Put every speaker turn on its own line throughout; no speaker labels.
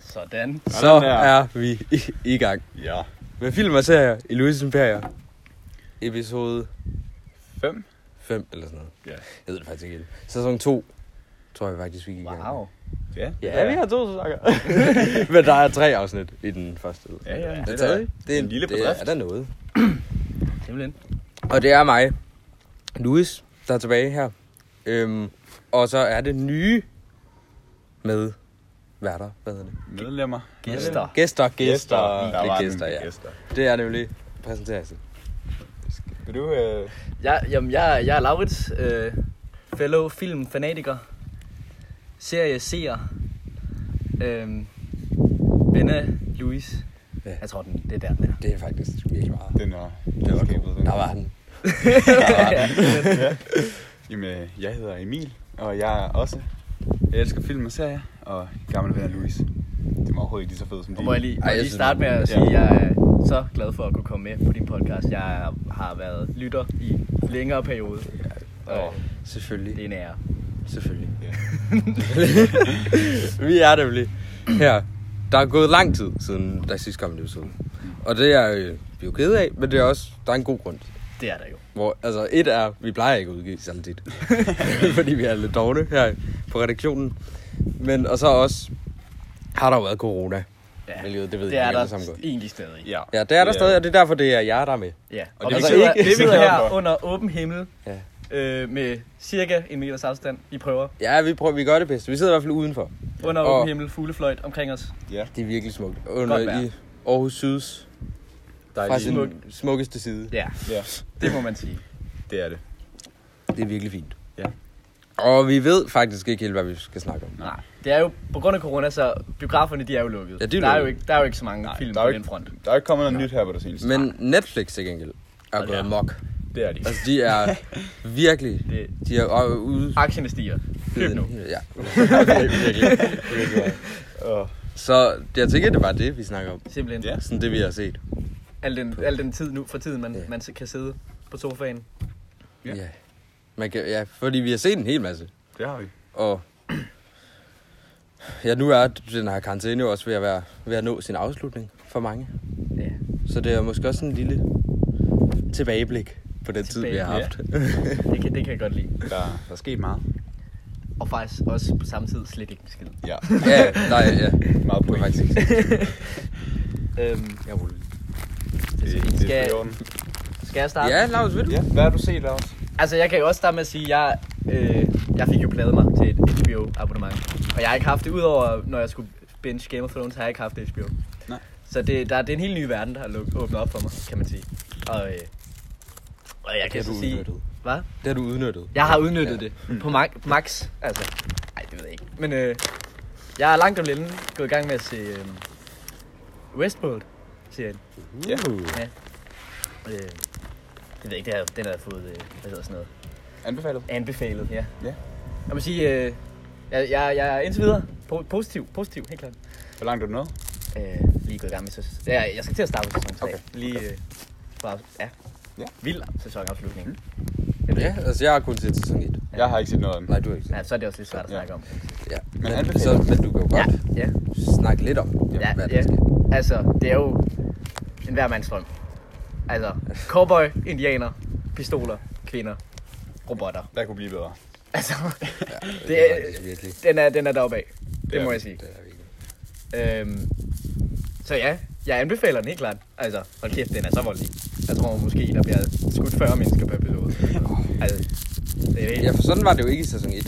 Sådan.
Så
der.
er vi i, i gang
Ja.
med film og serier i Louis' Imperier. Episode
5?
5 eller sådan noget.
Ja.
Jeg ved det faktisk ikke. helt. Sæson 2, tror jeg faktisk, vi gik i gang. med.
Wow.
Ja,
Ja, vi har to sæsoner. Men der er tre afsnit i den første.
Ja, ja.
Den
Det
tredje,
er
det er
en lille
det
bedrift.
er der noget.
Simpelthen.
Og det er mig, Louis, der er tilbage her. Øhm, og så er det nye med værter. Hvad hedder det?
Medlemmer.
Gæster.
Gæster, gæster.
Der
det
var
er
den.
gæster, ja.
Gæster.
Det er nemlig præsentagelsen.
Vil du... Øh...
Jeg, jamen, jeg, jeg er Laurits, øh, fellow filmfanatiker, serie seer, øh, Benna, Louis.
Ja.
Jeg tror, den, det er der, den er.
Det er faktisk virkelig meget.
Den var...
Det var
skabet,
god.
den.
Der var den.
Jamen, øh, jeg hedder Emil, og jeg er også... Jeg elsker film og serier, og gammel ven af Louis. Det var overhovedet ikke lige så fedt som
Og
de.
må jeg lige, må
Ej,
jeg
jeg
lige
synes,
starte med at
det er-
sige, at jeg er så glad for at kunne komme med på din podcast. Jeg har været lytter i en længere periode. Og det er
Selvfølgelig.
en ære.
Selvfølgelig.
Ja.
vi er nemlig her. Der er gået lang tid siden der sidst kom en episode. Og det er øh, vi jo kede af, men det er også, der er en god grund.
Det er der jo.
Hvor, altså, et er, vi plejer ikke at udgive særlig tit. fordi vi er lidt dogne her på redaktionen. Men, og så også, har der jo været corona.
Ja,
Hvilket, det ved
det
jeg
er
ikke
der
alle sammen godt.
egentlig stadig.
Ja,
Ja, det er der stadig, og det er derfor, det er jer, der er med.
Ja, og,
Og
og
det
vi
er
sidder,
ikke-
vi sidder
ikke
her
godt.
under åben himmel
Ja.
øh, med cirka en meters afstand. I prøver.
Ja, vi, prøver, vi gør det bedste. Vi sidder i hvert fald udenfor.
Under
Og-
åben himmel, fuglefløjt omkring os.
ja.
Det er virkelig smukt.
Godt vejr.
Under i Aarhus Syds fra sin
Smuk.
smukkeste side.
Ja,
ja.
det må man sige.
Det er det.
Det er virkelig fint.
Ja.
Og vi ved faktisk ikke helt, hvad vi skal snakke om.
Nej. Det er jo på grund af corona, så biograferne de er jo lukket.
Ja, de er
der, er jo
lukket.
ikke, der er jo ikke så mange Nej, film
der
på
er jo
den
ikke-
front.
Der er ikke kommet noget nyt her på det seneste.
Men Netflix til gengæld er
Og det er.
gået mok.
det er de.
Altså, de er virkelig...
Det,
De er øh, ude...
aktierne stiger. Køb nu.
Ja.
Og,
Så jeg tænker, det var det, vi snakker om.
Simpelthen.
Ja.
Sådan det, vi har set.
Al, den, al den tid nu for tiden, man,
Ja.
man kan sidde på sofaen.
Ja.
Ja. Man kan, ja, fordi vi har set en hel masse.
det har vi.
Og ja, nu er den her karantæne jo også ved at, være, ved at nå sin afslutning for mange.
Ja.
Så det er måske også sådan en lille tilbageblik på den tid, vi har haft.
Det kan, det kan jeg godt lide.
Der, der er sket meget.
Og faktisk også på samme tid slet ikke en skid.
Ja,
ja, nej, ja.
meget
Det var
point.
faktisk ikke
Øhm,
Jeg ruller lige.
Det, det, det, er
Skal-
i orden.
skal jeg starte?
Ja, Lars, vil du?
Ja, hvad har du set, Lars?
Altså, jeg kan jo også starte med at sige, at jeg, øh, jeg fik jo pladet mig til et HBO-abonnement. Og jeg har ikke haft det, udover når jeg skulle binge Game of Thrones, har jeg ikke haft HBO.
Nej.
Så det, der, det er en helt ny verden, der har luk- åbnet op for mig, kan man sige. Og, øh, og jeg kan
Det
så
har du
sige...
udnyttet.
Hvad?
Det har du udnyttet.
Jeg har udnyttet
Ja. Mm.
ja. det på ma- max. Altså, nej, det ved jeg ikke. Men øh, jeg er langt om længe gået i gang med at se øh, Westworld, siger jeg.
Ja.
Uh.
Øh, jeg ved ikke, det har, den har jeg fået, øh, hvad hedder sådan noget,
Anbefalet.
anbefalet, ja.
Ja.
Jeg må sige, øh, jeg, jeg, jeg er indtil videre po- positiv, positiv, helt klart.
Hvor langt er du nået?
Øh, lige gået i gang med sæson. Ja, jeg skal til at starte med sæson 3.
Okay.
Lige øh, fra, ja.
Ja.
Vild sæsonafslutning. Mm.
Ja, altså jeg har kun set sæson 1.
Jeg har ikke set noget af den.
Nej, du har ikke set.
Ja, så er det også lidt svært at
Ja.
snakke om.
Ja.
Men
Men,
anbefaler
så, men du kan jo godt
Ja,
snakke lidt om,
ja,
hvad
ja.
der sker.
Altså, det er jo en hver mands drøm. Altså, cowboy, indianer, pistoler, kvinder, robotter.
Der kunne blive bedre.
Altså,
Det
Det er-
er faktisk virkelig.
den er, den er deroppe af.
Det
Det
er
må
den.
jeg sige.
Det er virkelig.
Øhm, så ja, jeg anbefaler den helt klart. Altså, hold kæft, den er så voldelig. Jeg tror måske, der bliver skudt 40 mennesker per episode. Altså, det er det.
Ja, for sådan var det jo ikke i sæson 1,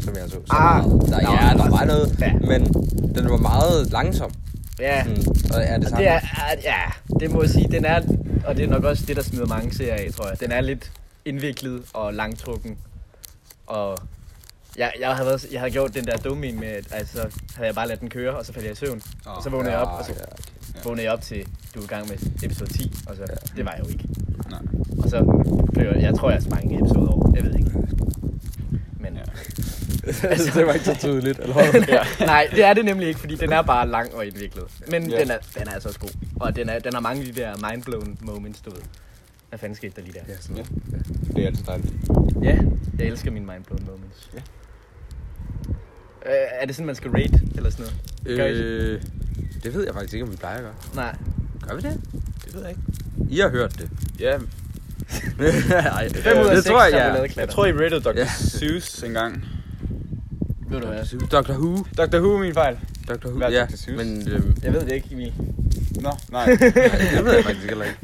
som jeg så. så
Ah,
der,
nå,
ja, der var
altså,
noget,
ja.
men den var meget langsom.
Ja,
Mm, og er det
og
samme.
det er, er- ja, det må jeg sige, den er, og det er nok også det, der smider mange serier af, tror jeg. Den er lidt indviklet og langtrukken. Og jeg, jeg, havde, været- jeg havde gjort den der dumme en med, at altså, havde jeg bare ladet den køre, og så faldt jeg i søvn.
Åh,
og så vågnede jeg op, og så
Ja,
vågnede jeg op til, du er i gang med episode 10, og så, det var jeg jo ikke.
Nej.
Og så blev jeg, jeg tror, jeg sprang en episode over. Jeg ved ikke. Men,
Ja.
ja.
altså, det var ikke så tydeligt, eller hvad?
nej, det er det nemlig ikke, fordi den er bare lang og indviklet. Men
Ja.
ja. den, er, den er altså også god. Og den, er, den har mange af de der mindblown moments, du ved. Hvad fanden skete der lige der?
Ja, sådan.
Ja. Det er altid dejligt.
Ja, jeg elsker mine mindblown moments.
Ja.
Øh, er det sådan, man skal rate eller sådan noget? Gør I det?
Øh, det ved jeg faktisk ikke, om vi plejer at gøre.
Nej,
Gør vi det?
det ved jeg ikke.
I har hørt det.
Ja,
Nej,
Fem ud af
det
seks
tror jeg, jeg.
chokoladeklatter.
jeg tror, I rated Dr.
Ja.
Seuss engang.
Ved du hvad?
Dr. Who.
Dr. Who er min fejl.
Dr. Who,
Hvad er
ja.
Dr. Seuss?
Men øhm,
Jeg ved det ikke, Emil.
Nå, nej.
det ved jeg faktisk heller ikke.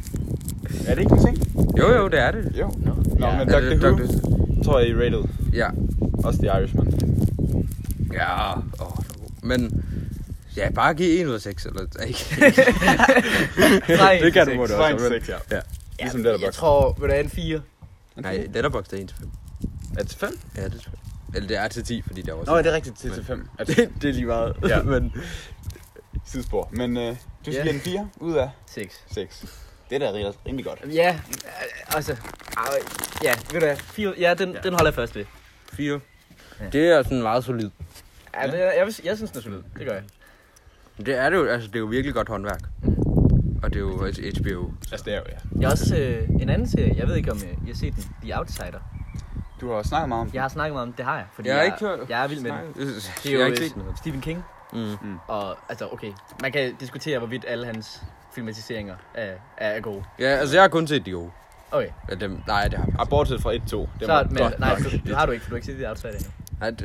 er det ikke en ting?
Jo, jo, det er det.
Jo.
Nå,
Nå,
ja.
men
Er det
Dr. Who
Dr.
tror jeg, I rated.
Ja.
Også The Irishman.
Ja, åh, det var god. Men, ja, bare give 1 ud af 6, eller ej, ikke.
Nej,
det kan du
seks.
må du
Fra en
også.
til
men-
seks, ja.
ja.
Ja,
Ligesom
Jeg
Letterboxd.
tror, vil der en 4?
Nej, Letterboxd er 1 til 5.
Er det til 5?
Ja, det tror jeg. Eller det er til 10, fordi det er også...
Nå, er det rigtigt? Det er til
Men-
5.
det, det er lige meget.
Ja.
men...
Sidespor. Men øh, du
Ja.
siger en 4 ud af
6.
6. Det er da rimelig- rimelig godt.
Ja, altså, ej, ja, ved du hvad, 4, ja, den, ja. den holder jeg fast ved.
4.
Ja.
Det er sådan meget solid.
Ja, ja. Det, jeg, vil- jeg synes, den er solid. Det gør jeg.
Det er det jo, altså det er jo virkelig godt håndværk. Og det er jo altså HBO.
Altså, det er jo, ja.
Jeg har også øh, en anden serie, jeg ved ikke om øh, I har set den, The Outsider.
Du har jo snakket meget om det.
Jeg har snakket meget om den, det har jeg, fordi
Jeg har ikke hørt-
jeg er vild med den.
Det
Det
er
er
jeg har
jo
ikke set den.
øh, Stephen King,
Mm.
og altså okay, man kan diskutere, hvorvidt alle hans filmatiseringer er, er gode.
Ja, altså jeg har kun set de gode.
Okay,
Ja, dem, nej, det har jeg
Ah, bortset fra 1-2. Det
så,
var
men,
godt
nej,
nok.
du, det har du ikke, for du har ikke set The Outsider endnu.
Nej, det,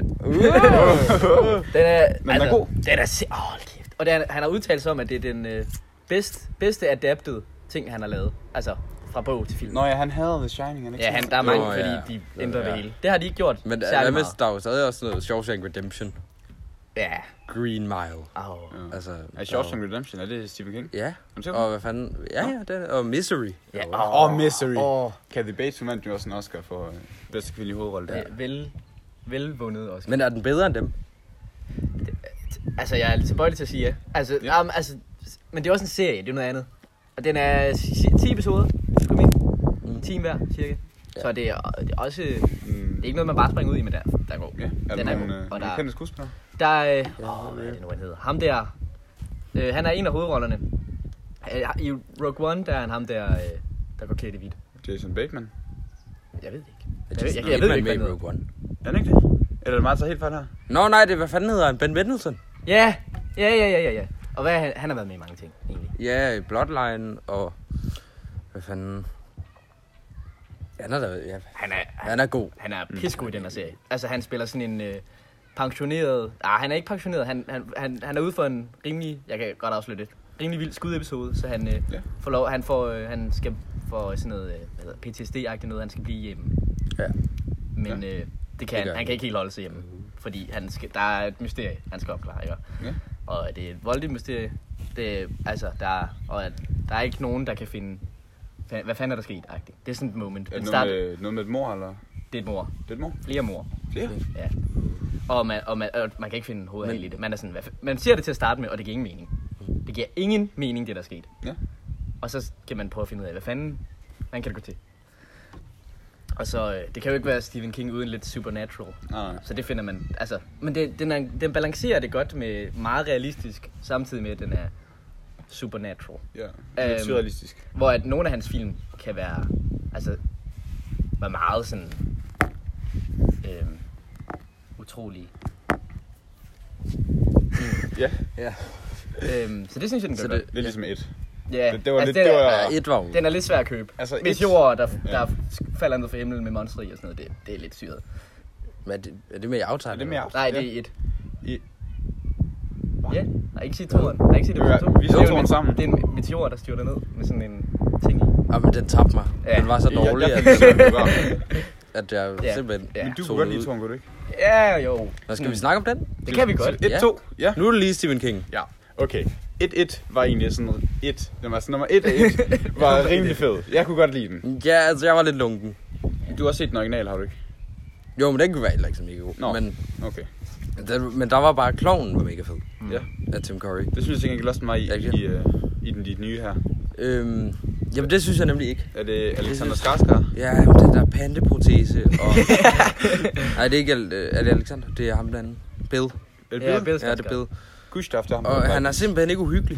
Den er,
Men den er god.
Den er si- oh, hold kæft. Og den, han har udtalt sig om, at det er den øh, bedst, bedste adapted ting, han har lavet. Altså, fra bog til film.
Nå ja, han havde The Shining, han ikke
ja,
set
han,
det?
der er mange,
Nå,
fordi
ja.
de
Nå,
ændrer
ja.
det hele. Det har de ikke gjort
men øh,
særlig
hvad
meget.
hvis der er jo stadig også noget Shawshank Redemption?
Ja,
Green Mile.
oh.
Ja.
Altså,
Er Shawshank Redemption, er det Stephen King?
Ja,
Er det
og hvad fanden? Ja, ja, det er, og Misery.
Ja,
Jo.
og-
Åh, oh, Misery.
Åh.
Kathy Bates, hun vandt jo også en Oscar for øh, bedste kvindelige hovedrolle der.
Øh, Vel, velvundet også. Men,
Men er den bedre end dem?
altså, jeg er lidt tilbøjelig til at sige ja. Altså,
Ja.
ja. Um, altså, men det er også en serie, det er noget andet. Og den er si- si- 10 episoder, skulle min. En time hver, cirka.
Ja.
Så det er, øh, det er også...
Mm.
Det er ikke noget, man bare springer ud i, men der, der er god.
Ja, er der
Den er
nogle,
god,
øh,
og
nogle
der-
kendte skuespillere?
Der er... Åh, oh, hvad er det nu, han hedder? Ham der... Øh, han er en af hovedrollerne. Øh, I Rogue One, der er han ham der, øh, der går klædt i hvidt.
Jason Bateman.
Jeg ved det ikke.
Er
Jeg, ved-
Jason
jeg, jeg ved
Bateman
ikke, hvad
med i
han hedder.
Rogue One.
Er han ikke det? Eller er det meget så helt fejl her?
Nå nej, det er, hvad fanden hedder han? Ben Mendelsohn?
Ja, ja, ja, ja, ja, ja. Og hvad, er han, han har været med i mange ting, egentlig.
Ja, i Bloodline og... Hvad fanden? Ja, han er, der, ja,
Han er, Mm. han,
han er god.
han er pissegod i den her serie. Altså, han spiller sådan en øh, pensioneret... Ah, han er ikke pensioneret. Han, han, han, han er ude for en rimelig... Jeg kan godt afsløre det. Rimelig vild skudepisode, så han øh,
Ja.
ja. får lov... Han, får, øh, han skal få sådan noget øh, hvad hedder, PTSD-agtigt noget. Han skal blive øh, hjemme.
Ja.
Men ja. øh, det kan
Det
det
gør
han. Han
han.
kan ikke helt holde sig hjemme. Fordi han skal, der er et mysterie, han skal opklare. Ikke?
Ja.
Og det er et voldeligt mysterie. Det, er- altså, der, er- og at der er ikke nogen, der kan finde... fa- Hvad fanden er der sket? -agtigt. Det er sådan et moment.
Er det
Den start,
noget med, noget med et mor, eller?
det er et mor.
Det er et mor?
Flere mor.
Flere?
Ja. Og man, og man, og man kan ikke finde hovedet af i det. Man, er sådan, hvad, fa- man ser det til at starte med, og det giver ingen mening. Det giver ingen mening, det der er sket.
Ja.
Og så kan man prøve at finde ud af, hvad fanden, hvordan kan det gå til? Og så, øh, det kan jo ikke være Stephen King uden lidt supernatural.
Nej.
Så det finder man, altså, men det, den, er, den balancerer det godt med meget realistisk, samtidig med, at den er supernatural.
Ja. Det er
Øhm.
surrealistisk.
Hvor at nogle af hans film kan være, altså, være meget sådan, øh, utrolige.
Ja,
Ja.
Øhm, så det synes jeg, den gør
Så
det,
det-
godt.
det er ligesom et.
Ja,
det- det var lidt-
den,
det
er-
var-
Ja, et var jo.
den er lidt svær at købe.
Altså,
Altså, Hvis
et-
jord, der,
ja.
der falder ned fra himlen med monster i og sådan noget, det, det er lidt syret.
Men er det, er det med i aftalen?
Er det mere
Nej, det er et.
I-
Ja, jeg har ikke set toren. Jeg har ikke set det
Ja,
på to.
vi så
Det er jo
toeren
en-
sammen.
Det er en meteor, der styrter ned med sådan en ting i.
Ah, men den tabte mig.
Ja.
Den var så
Jeg-
dårlig,
jeg
at,
fik det som en program.
at jeg
Ja.
simpelthen
altså. Ja.
Men du
så
kunne godt
det
lide
ud.
Toren, kunne du ikke?
Ja, jo.
Nå, skal vi snakke om den?
Det kan vi godt.
Ja.
1-2, ja.
Nu er det lige Stephen King.
Ja, okay. 1-1 var egentlig sådan et. Den var sådan nummer 1 af 1 var rimelig fed. Jeg kunne godt lide den.
Ja, altså jeg var lidt lunken.
Du har også set den original, har du ikke?
Jo, men den kunne være heller ikke så mega god.
Nå.
Men,
Okay.
den, men der var bare, kloven var mega fed
Mm.
Ja,
af Tim Curry.
det synes jeg ikke gengæld også mig i,
Ja,
i,
det-
øh, i den dit nye her.
Øhm, jamen det synes jeg nemlig ikke.
Er det Alexander
synes-
Skarsgård?
Ja, jamen, den der pandeprotese og... Nej, det er ikke... Al- øh, Er det Alexander? Det er ham den anden. Bill.
Er det
Ja,
Bill?
Bill
Ja, det er Bill.
Gustav, der er ham.
Og han er simpelthen ikke uhyggelig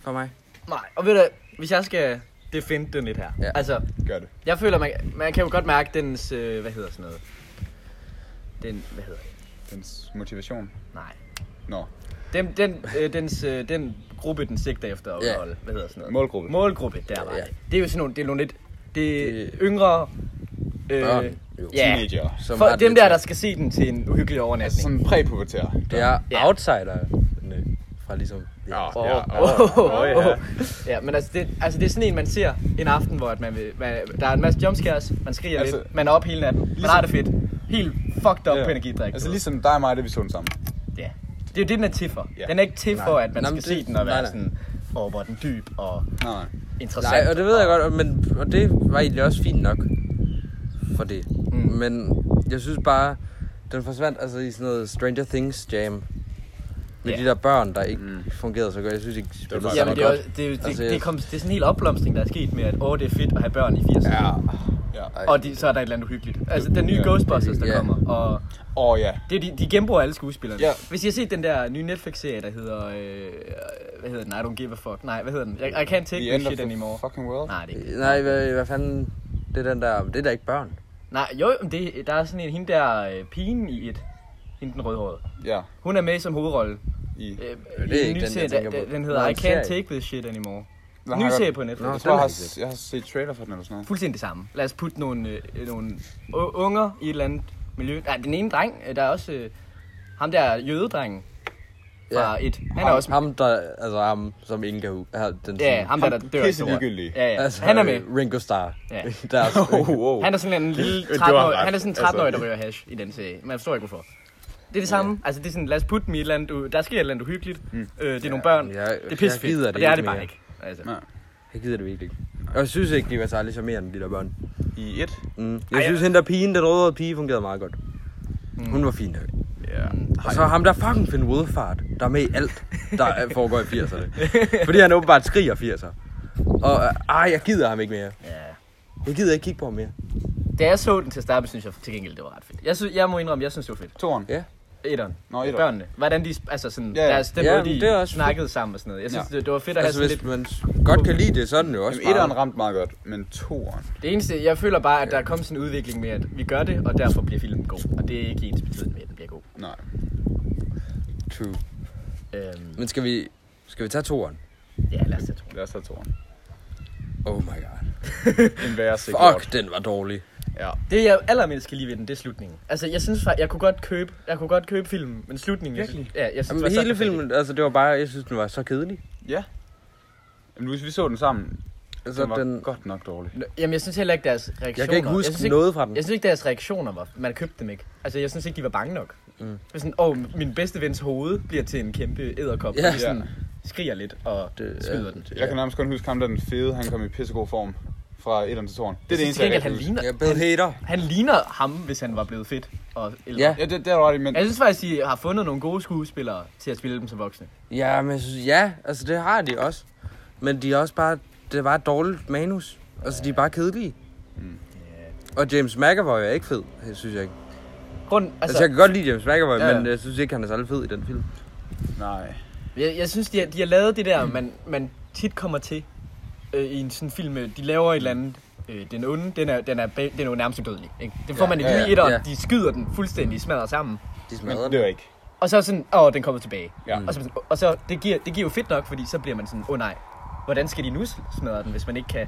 for mig.
Nej, og ved du, hvis jeg skal defende den lidt her.
Ja.
Ja. Altså,
Gør det.
jeg føler, man, man kan jo godt mærke dens, øh, hvad hedder sådan noget? Den, hvad hedder det?
Dens motivation?
Nej.
Nå.
Den, den, øh, dens, øh, den gruppe, den sigter efter at
Ja.
underholde. Hvad hedder sådan noget?
Målgruppe.
Målgruppe, der var
Ja.
ja. det. Det er jo sådan nogle, det er nogle lidt det er
Det-
yngre... Øh,
Børn, jo.
ja.
Teenager.
Som
For
har
dem
lidt
der,
til-
der skal se den til en uhyggelig
Altså
overnatning.
sådan præpubertære.
Det er
Ja.
outsider fra ligesom...
Ja.
Åh,
Ja,
åh,
åh,
åh,
åh,
åh. Ja, men altså det, altså det er sådan en, man ser en aften, hvor at man, vil, man der er en masse jumpscares, man skriger altså,
Altså-
lidt, man er op hele natten, ligesom, man
Ligesom-
har det fedt. Helt fucked up yeah. på energidrik.
Altså ligesom dig og mig, det vi så den sammen.
Ja. Det er jo det, den er til for.
Ja.
Den er ikke til for,
ligesom- Nej.
at man
Nå, men
skal
det-
se den og være
nej, nej.
sådan, åh, hvor er den dyb og
Nå, nej.
interessant.
Nej, og det ved jeg godt, og- men, og det var egentlig også fint nok for det.
Mm.
Mm. Men jeg synes bare, den forsvandt altså i sådan noget Stranger Things jam. Med
Ja.
de der børn, der ikke
Mm.
mm. fungerede så godt. Jeg synes ikke, de spillede
var
så
faktisk
Jamen,
godt.
det, er, også- det, er- det,
Altså,
det, det,
jeg-
kom, det er sådan en hel opblomstning, der er sket med, at åh, det er fedt at have børn i 80'erne.
Ja. Ja.
Ej.
Og de, så er der et eller andet uhyggeligt. Altså, den nye
Ja.
Ghostbusters, der
Ja.
kommer, og
Åh oh, ja.
Det, er de, de genbruger alle skuespillerne.
Ja.
Hvis I har set den der nye Netflix-serie, der hedder... Øh, hvad hedder den? I don't give a fuck. Nej, hvad hedder den? I, I can't take
The
this
end of
shit
the
anymore.
fucking world.
Nej, det er ikke.
Øh, Nej, hvad, hvad fanden... Det er den der... Det er da ikke børn.
Nej, jo, men det, der er sådan en hende der øh, pigen i et. Hende den rødhårede.
Ja.
Hun er med som hovedrolle.
I.
Øh,
er
i en
ikke den, jeg
der,
tænker på.
den, den
Nå,
hedder I
en
can't
serie.
take this shit anymore.
Nå,
Ny
har jeg-
serie på Netflix.
Nå,
Jeg
den
tror, jeg
har
har,
jeg ikke set.
jeg har set trailer for den eller sådan noget.
Fuldstændig det samme. Lad os putte nogle, øh, nogle u- unger i et eller andet miljø. Nej, den ene dreng, øh, der er også... Øh, ham der jødedrengen fra
Ja.
et. Han er også
Ham, der... Altså ham, som ingen kan... hu- har Den,
Ja, ham der, der dør i
pisse
Thor.
ligegyldig.
Ja, ja. Altså, han er med.
øh, Ringo Starr.
Ja.
der er også,
Oh, wow.
Han er sådan en lille
Det var
13-årig,
ret.
han er sådan en
Altså.
13-årig, der ryger hash i den serie. Man forstår ikke, hvorfor. Det er det samme. Altså, det er sådan, lad os putte dem i et eller andet, u- der sker et eller andet uhyggeligt. Mm. Øh, det er nogle børn.
jeg-
det er
jeg
pissefedt,
gider
og
det
det er
ikke
det bare
mere.
ikke. Altså.
Nej.
jeg gider det virkelig ikke. Og jeg synes ikke, de var særlig charmerende, de der børn.
I et.
Mm. Jeg
Ej,
Ej, synes,
jeg-
hende der pigen, den røde pige, fungerede meget godt. Mm. Hun var fin nok.
Ja.
Og så ham der fucking Finn Wolfhard, der er med i alt, der øh, foregår i 80'erne. Fordi han åbenbart skriger 80'er. Og øh, ej, jeg gider ham ikke mere.
Ja.
Jeg gider ikke kigge på ham mere.
Da jeg så den til at starte med, synes jeg til gengæld, det var ret fedt. Jeg, synes, jeg må indrømme, jeg synes, det var fedt.
Toren.
Ja.
Etteren.
Nå, etteren.
Børnene. Hvordan de, altså sådan,
Ja, ja.
deres, den
Ja,
måde,
men
de
det er også
snakkede sammen og sådan noget. Jeg synes,
Ja.
det, det var fedt at have
Altså,
sådan lidt
hvis man s- godt kan lide det, så er den jo også
Jamen, etteren
bare-
ramte meget godt, men toeren.
Det eneste, jeg føler bare, at der er kommet sådan en udvikling med, at vi gør det, og derfor bliver filmen god. Og det er ikke ens betydende med, at den bliver god.
Nej.
True.
Øhm,
Men skal vi, skal vi tage toeren?
ja, lad os det, tror jeg.
Lad os tage toeren.
Oh my god.
En værre sikkert.
Fuck, den var dårlig.
Ja.
Det, jeg allermindst kan lide ved den, det er slutningen. Altså, jeg synes faktisk, jeg kunne godt købe, jeg kunne godt købe filmen, men slutningen... jeg synes-
Virkelig?
Ja, jeg synes,
Jamen,
det var så
hele
forfærdeligt.
filmen, altså det var bare, jeg synes, den var så kedelig.
Ja. Jamen, Louise, vi så den sammen.
Altså,
Den var
den,
godt nok dårlig.
Nå, Jamen, jeg synes heller ikke, deres reaktioner...
jeg kan ikke
synes
huske noget fra den.
Jeg synes ikke, deres reaktioner var... Man købte dem ikke. Altså, jeg synes ikke, de var bange nok. Mm. Det var sådan, åh, min bedste vens hoved bliver til en kæmpe æderkop.
Ja.
Ja. De sådan, skriger lidt og
Det-
skyder
ja.
den. Det
Jeg kan nærmest kun huske ham, der er den fede, han kom i pissegod form fra etteren til toren. Det er det eneste,
jeg han
jeg kan huske.
ligner,
Jeg er bedre hater.
han ligner ham, hvis han var blevet fedt. Og ældre.
Ja.
Ja, det, det er du ret i, men
Jeg synes faktisk, de har fundet nogle gode skuespillere til at spille dem som voksne.
Ja, men jeg synes, ja, altså det har de også. Men de er også bare, det var et dårligt manus. Altså, de er bare kedelige.
Mm.
Og James McAvoy er ikke fed, synes jeg ikke. Altså,
Grund, altså,
altså jeg kan godt lide James
Ja,
McAvoy, ja,
ja.
ja. men jeg synes ikke, han er særlig fed i den film.
nej.
Jeg, jeg synes, de har, de har lavet det der, man, man tit kommer til øh, i en sådan film. øh, De laver et eller andet. Øh, den onde, den er, den er, ba- den er jo nærmest udødelig. Ikke? Det får
Ja,
man i
ja,
lige
ja,
etteren.
ja.
De skyder den fuldstændig smadret sammen.
De
Men
smadrer
det var
den.
ikke.
Og så sådan, åh, den kommer tilbage.
Ja.
Og, så, sådan, og så, det giver, det giver jo fedt nok, fordi så bliver man sådan, åh oh, nej, hvordan skal de nu smadre den, hvis man ikke kan...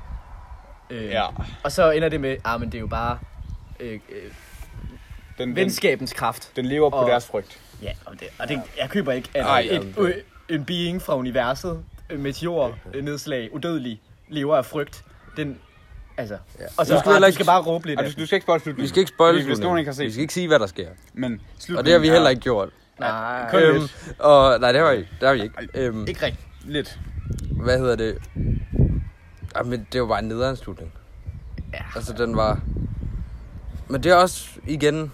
Øh,
Ja.
Og så ender det med, ah, men det er jo bare øh, øh,
Den, den,
venskabens kraft.
den lever på
Og-
deres frygt.
Ja, og det, og det, jeg køber ikke, at
Ej,
Ej, et,
jamen,
ø, en being fra universet, øh, meteor, øh, nedslag, udødelig, lever af frygt. Den, altså, ja. og så
Du
du skal,
skal heller
bare, du
ikke-
skal bare råbe lidt.
Ej,
af
du,
den.
du skal ikke spoil slutningen.
Vi skal ikke spoil
Hvis- Hvis nogen ikke har set
Vi skal ikke sige, hvad der sker.
Men
Og det har vi heller ikke gjort.
Nej,
Kun
Øhm,
lidt.
og, nej, det har vi ikke. Det har vi ikke. Øhm,
ikke rigtigt.
Lidt.
hvad hedder det? Jamen, det var bare en nederen slutning.
Ja.
Altså, den var... Men det er også, igen...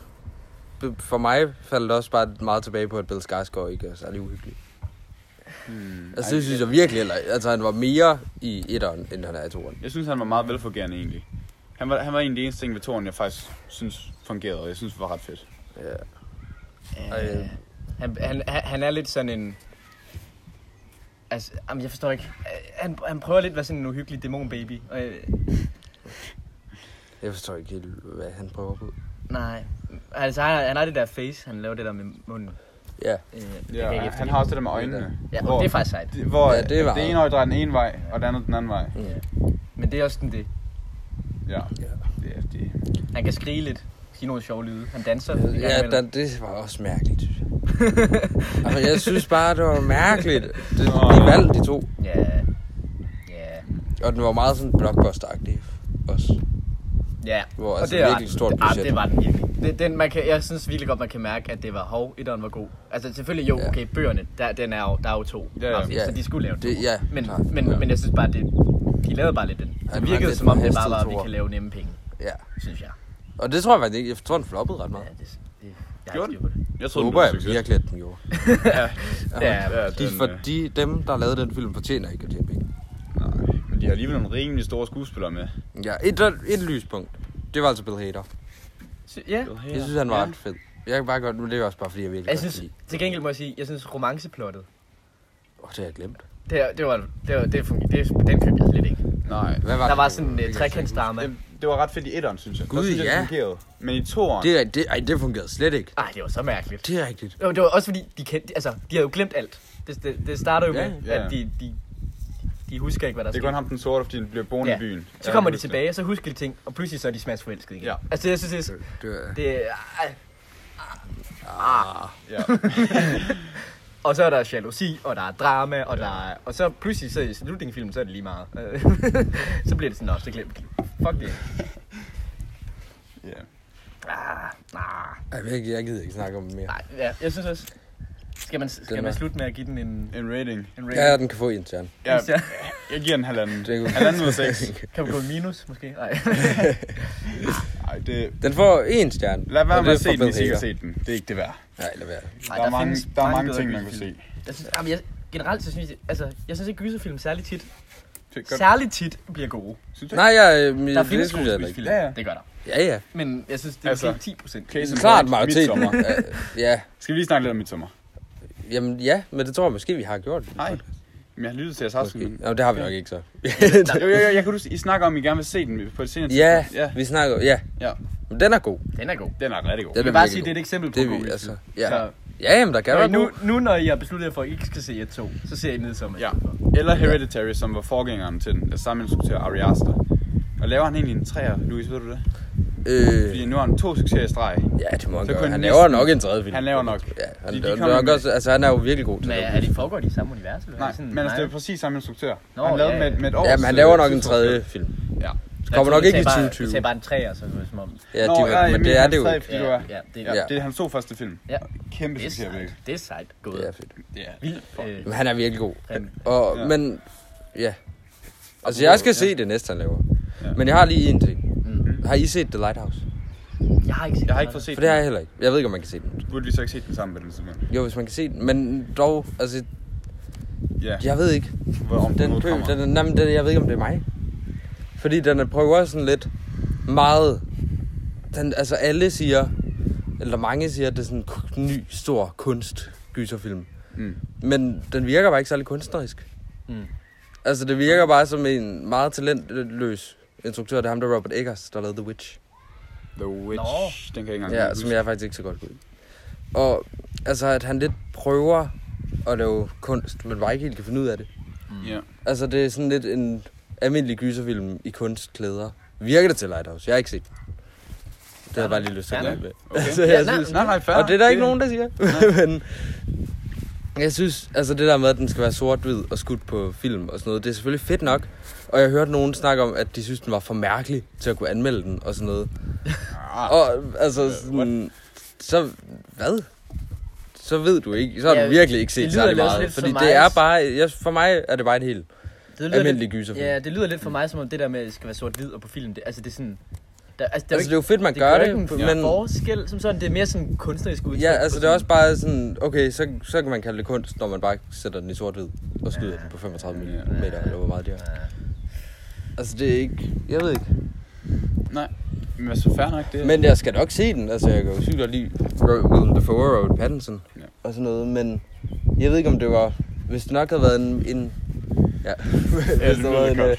be- For mig faldt det også bare meget tilbage på, at Bill Skarsgård ikke er særlig uhyggelig. Hmm, altså, det synes jeg virkelig heller ikke. Altså, han var mere i etteren, end han er i toeren.
Jeg synes, han var meget velfungerende egentlig. Han var, han var en af de eneste ting ved toren, jeg faktisk synes fungerede, og jeg synes, det var ret fedt.
Ja.
Øh, han, han, han- han er lidt sådan en... Altså, jamen, jeg forstår ikke. Øh, Han, han prøver lidt at være sådan en uhyggelig dæmonbaby. Og, øh,
Jeg forstår ikke helt, hvad han prøver på.
Nej. Altså, han, har- han har det der face, han laver det der med munden.
Ja.
Øh, jeg kan ikke
Ja, han
efterligne.
har også det der med øjnene.
Ja,
hvor-
og det er faktisk sejt.
de- Hvor
Ja,
det,
det var-
ene øje drejer den ene vej, og det andet den anden vej.
Ja. Men det er også sådan det.
Ja,
Ja.
det er det.
Han kan skrige lidt, sige nogle sjove lyde. Han danser. en gang
Ja,
imellem.
da, det var også mærkeligt, synes jeg. altså, jeg synes bare, det var mærkeligt. Det, de valgte de to.
Ja. Ja.
Og den var meget sådan blockbuster-agtig også.
Ja.
Hvor,
Og
altså,
det er
virkelig
den.
stort
det, ah,
budget.
det var den virkelig. Det, den, man kan, jeg synes virkelig godt, man kan mærke, at det var hov, etteren var god. Altså selvfølgelig jo,
Ja.
okay, bøgerne, der, den er jo, der er jo to.
Ja, ja.
afsnit,
Ja.
Så de skulle lave
Det-
to.
ja,
men,
klart.
men,
Ja.
men jeg synes bare, det, de lavede bare lidt den.
det var
Det virkede
lidt
som om, det bare
forhastet
var, at vi
toer.
kan lave nemme penge,
Ja.
synes jeg.
Og det tror jeg faktisk ikke. Jeg tror, den floppede ret meget.
Ja, det, det, jeg har
Gjorde
ikke styr på det.
Jeg
Så håber jeg virkelig, at den gjorde.
Ja,
Ja,
De,
den,
for
øh,
de, dem, der lavede den film, fortjener ikke at tjene penge.
nej, men de har alligevel nogle rimelig store skuespillere med.
Ja, et, et lyspunkt. Det var altså Bill Hader.
Sy- ja.
Jeg synes, han var ret fed. Jeg kan bare godt, men det er også bare, fordi jeg virkelig
Jeg
godt
synes,
kan lide.
til gengæld må jeg sige, jeg synes romanceplottet,
Åh, det har jeg glemt.
det, er- det var, det var, det fungerede, det, den købte jeg slet ikke.
Nej,
Hvad var
Der
det?
var sådan en uh,
Det kan jeg ikke
trekantsdrama.
det, det var ret fedt i etteren, synes jeg.
Gud,
der synes jeg,
ja.
det fungerede. Men i
huske.
toeren,
Det, er- det, ej, det fungerede slet ikke.
Ej, det var så mærkeligt.
Det er rigtigt.
Jo, det var også fordi, de, kendte, altså, de havde jo glemt alt. Det, det, det starter jo
Ja,
med,
ja.
at de, de, de husker ikke, hvad der
det er
skete.
kun ham den sorte, fordi den bliver boende
ja.
i byen.
Så kommer de tilbage, og så husker de ting, og pludselig så er de smash forelskede igen.
Ja.
Altså, jeg synes, det,
Det var,
det er... ej.
Ah, Ja.
Og så er der jalousi, og der er drama, og, der er, og så pludselig så i slutningen af filmen, så er det lige meget. Øh, så bliver det sådan, "Nå, så glemt. Fuck det.
ja.
Ah, nah.
ej, jeg, jeg gider ikke snakke om det mere.
Nej, ja, jeg synes også... Skal man, skal
Den
man
er-
slutte med at give den en,
En rating.
en
Ja,
rating?
den kan få en stjerne.
Ja, jeg giver den halvanden.
Det er godt.
Halvanden ud af seks.
Kan vi gå i minus, måske? Nej.
Ej, det...
Den får en stjerne.
Lad være
og
med
det
at
er
se
for Bill
den, hvis I ikke har
Hader.
set den. Det er ikke det værd.
Nej, lad være.
Ej,
der, er mange,
findes
der er mange
bedre
ting, man kan
gyserfilm.
se.
Jeg synes, jamen, jeg, generelt så synes jeg, altså, jeg synes ikke, gyserfilm særlig tit.
Det er godt.
Særligt tit bliver gode.
Synes du ikke?
Nej, jeg, men,
Der
det,
findes
det
gode
synes jeg heller ikke.
gyserfilm.
Ja, ja.
Det gør der.
Ja, ja.
Men jeg synes, det er
Altså,
altså, 10 procent.
Case in
Klart
point,
majoriteten.
Midsommar.
Ja, ja,
Skal vi lige snakke lidt om midtsommer?
jamen ja, men det tror jeg måske, vi har gjort.
Nej. Men jeg har lyttet til jeres
Måske.
afsnit. men-
Jamen, det har vi nok ikke så.
Jo, jo, jo, jeg kan huske, I snakker om, at I gerne vil se den på et senere
ja,
tidspunkt. Ja,
vi snakker, ja.
ja.
Men den er god.
Den er god.
Den er rigtig god.
Den
Jeg vil
er
bare
virkelig
sige, det er et eksempel på
Det er
god
vi,
film.
altså. Ja,
Så-
ja jamen, der kan
Når I
være
nu,
nu.
nu, når I har besluttet jer for, at I ikke skal se et tog, så ser I ned som
Ja. Eller Hereditary, som var forgængeren til den, der samme instruktør, Ari Aster. Og laver han egentlig en træer, Louis, ved du det? Fordi
Øh,
nu har han to succeser i streg.
ja, det må han
Så
gøre.
kunne
Han
den
laver
næsten-
nok en tredje film.
Han laver nok.
Ja, han,
De-
de,
de
de
kommer
nok
med-
også, altså, han er jo virkelig god til
Men
at lave
er det foregår de i samme univers? Eller?
Nej,
Sådan,
men altså, det er præcis samme instruktør.
Nå,
han lavede
ja, ja.
med, med et
film.
års...
Jamen, han laver
øh,
nok en
tidsforskel.
tredje film.
Ja.
Jeg
kommer
tror,
nok
I
ikke
tager
i
bare-
2020.
I tager bare en træer, så det er som om...
Ja,
Nå,
de,
ja,
men
Emil,
det er
hans
det jo.
tredje, fordi du er-
ja, det,
Ja,
ja.
det er hans to første film.
Ja.
Kæmpe
Det er
succes,
sejt.
virkelig.
Det er sejt gået.
Det er fedt.
Ja.
Vildt. Øh,
Men han er virkelig god.
Han-
Og,
Ja.
men, ja. Altså, jeg skal
Ja.
se det næste, han laver.
Ja.
Men jeg har lige en ting.
Mm.
Har I set The Lighthouse?
jeg har ikke set
Jeg har
den
ikke fået
her.
set
For det har jeg
den.
heller ikke. Jeg ved ikke, om man kan se den.
Burde vi så ikke set den sammen på den tidspunkt?
Jo, hvis man kan se den. Men dog, altså,
Ja,
jeg ved ikke.
hvor om den
Den, køb, den, er- nej, men den, jeg ved ikke, om det er mig. Fordi den er- prøver også sådan lidt meget... Den, altså, alle siger, eller mange siger, at det er sådan en ku- ny, stor kunst gyserfilm.
Mm.
Men den virker bare ikke særlig kunstnerisk.
Mm.
Altså, det virker bare som en meget talentløs instruktør. Det er ham, der er Robert Eggers, der lavede The Witch.
The Witch.
Nå.
Den kan jeg ikke engang
Ja,
huske.
som jeg faktisk ikke så godt kunne lide. Og altså, at han lidt prøver at lave kunst, men bare ikke helt kan finde ud af det.
Ja.
Altså, det er sådan lidt en almindelig gyserfilm i kunstklæder. Virker det til Lighthouse? Jeg har ikke set den. Det har jeg bare lige lyst til at
Ja,
lade med.
okay.
Altså,
Ja,
jeg
nej,
synes,
Nej, nej, fair.
og det er der ikke nogen, der siger. men jeg synes, altså det der med, at den skal være sort-hvid og skudt på film og sådan noget, det er selvfølgelig fedt nok. Og jeg hørte nogen snakke om, at de synes, den var for mærkelig til at kunne anmelde den og sådan noget.
Ah,
Og
Øh,
altså, sådan, så hvad? Så ved du ikke. Så har
Ja,
du virkelig ikke set
det lyder
særlig
lidt
meget.
lidt
Fordi
som
det er
mig.
bare, jeg, for mig er det bare en helt
Det lyder
almindelig
lidt-
gyserfilm.
Ja, det lyder lidt for mig, som om det der med, at det skal være sort-hvid og på film, det, altså det er sådan... Der, altså,
Altså, det er jo fedt, man
det
gør
gør
det,
ikke en
men-
forskel som sådan, det er mere sådan kunstnerisk udtryk.
Ja,
på
altså det er
sådan-
også bare sådan, okay, så, så kan man kalde det kunst, når man bare sætter den i sort-hvid og skyder den på 35 mm, eller hvor meget det er. Altså det er ikke, jeg ved ikke.
Nej, men altså, fair nok det.
Men jeg skal nok se den, altså jeg kan jo sygt godt lide Ro- Willem Dafoe og Robert Pattinson
Ja.
og sådan noget, men jeg ved ikke om det var, hvis det nok havde været en, en ja, hvis
lyder
det var en,
godt.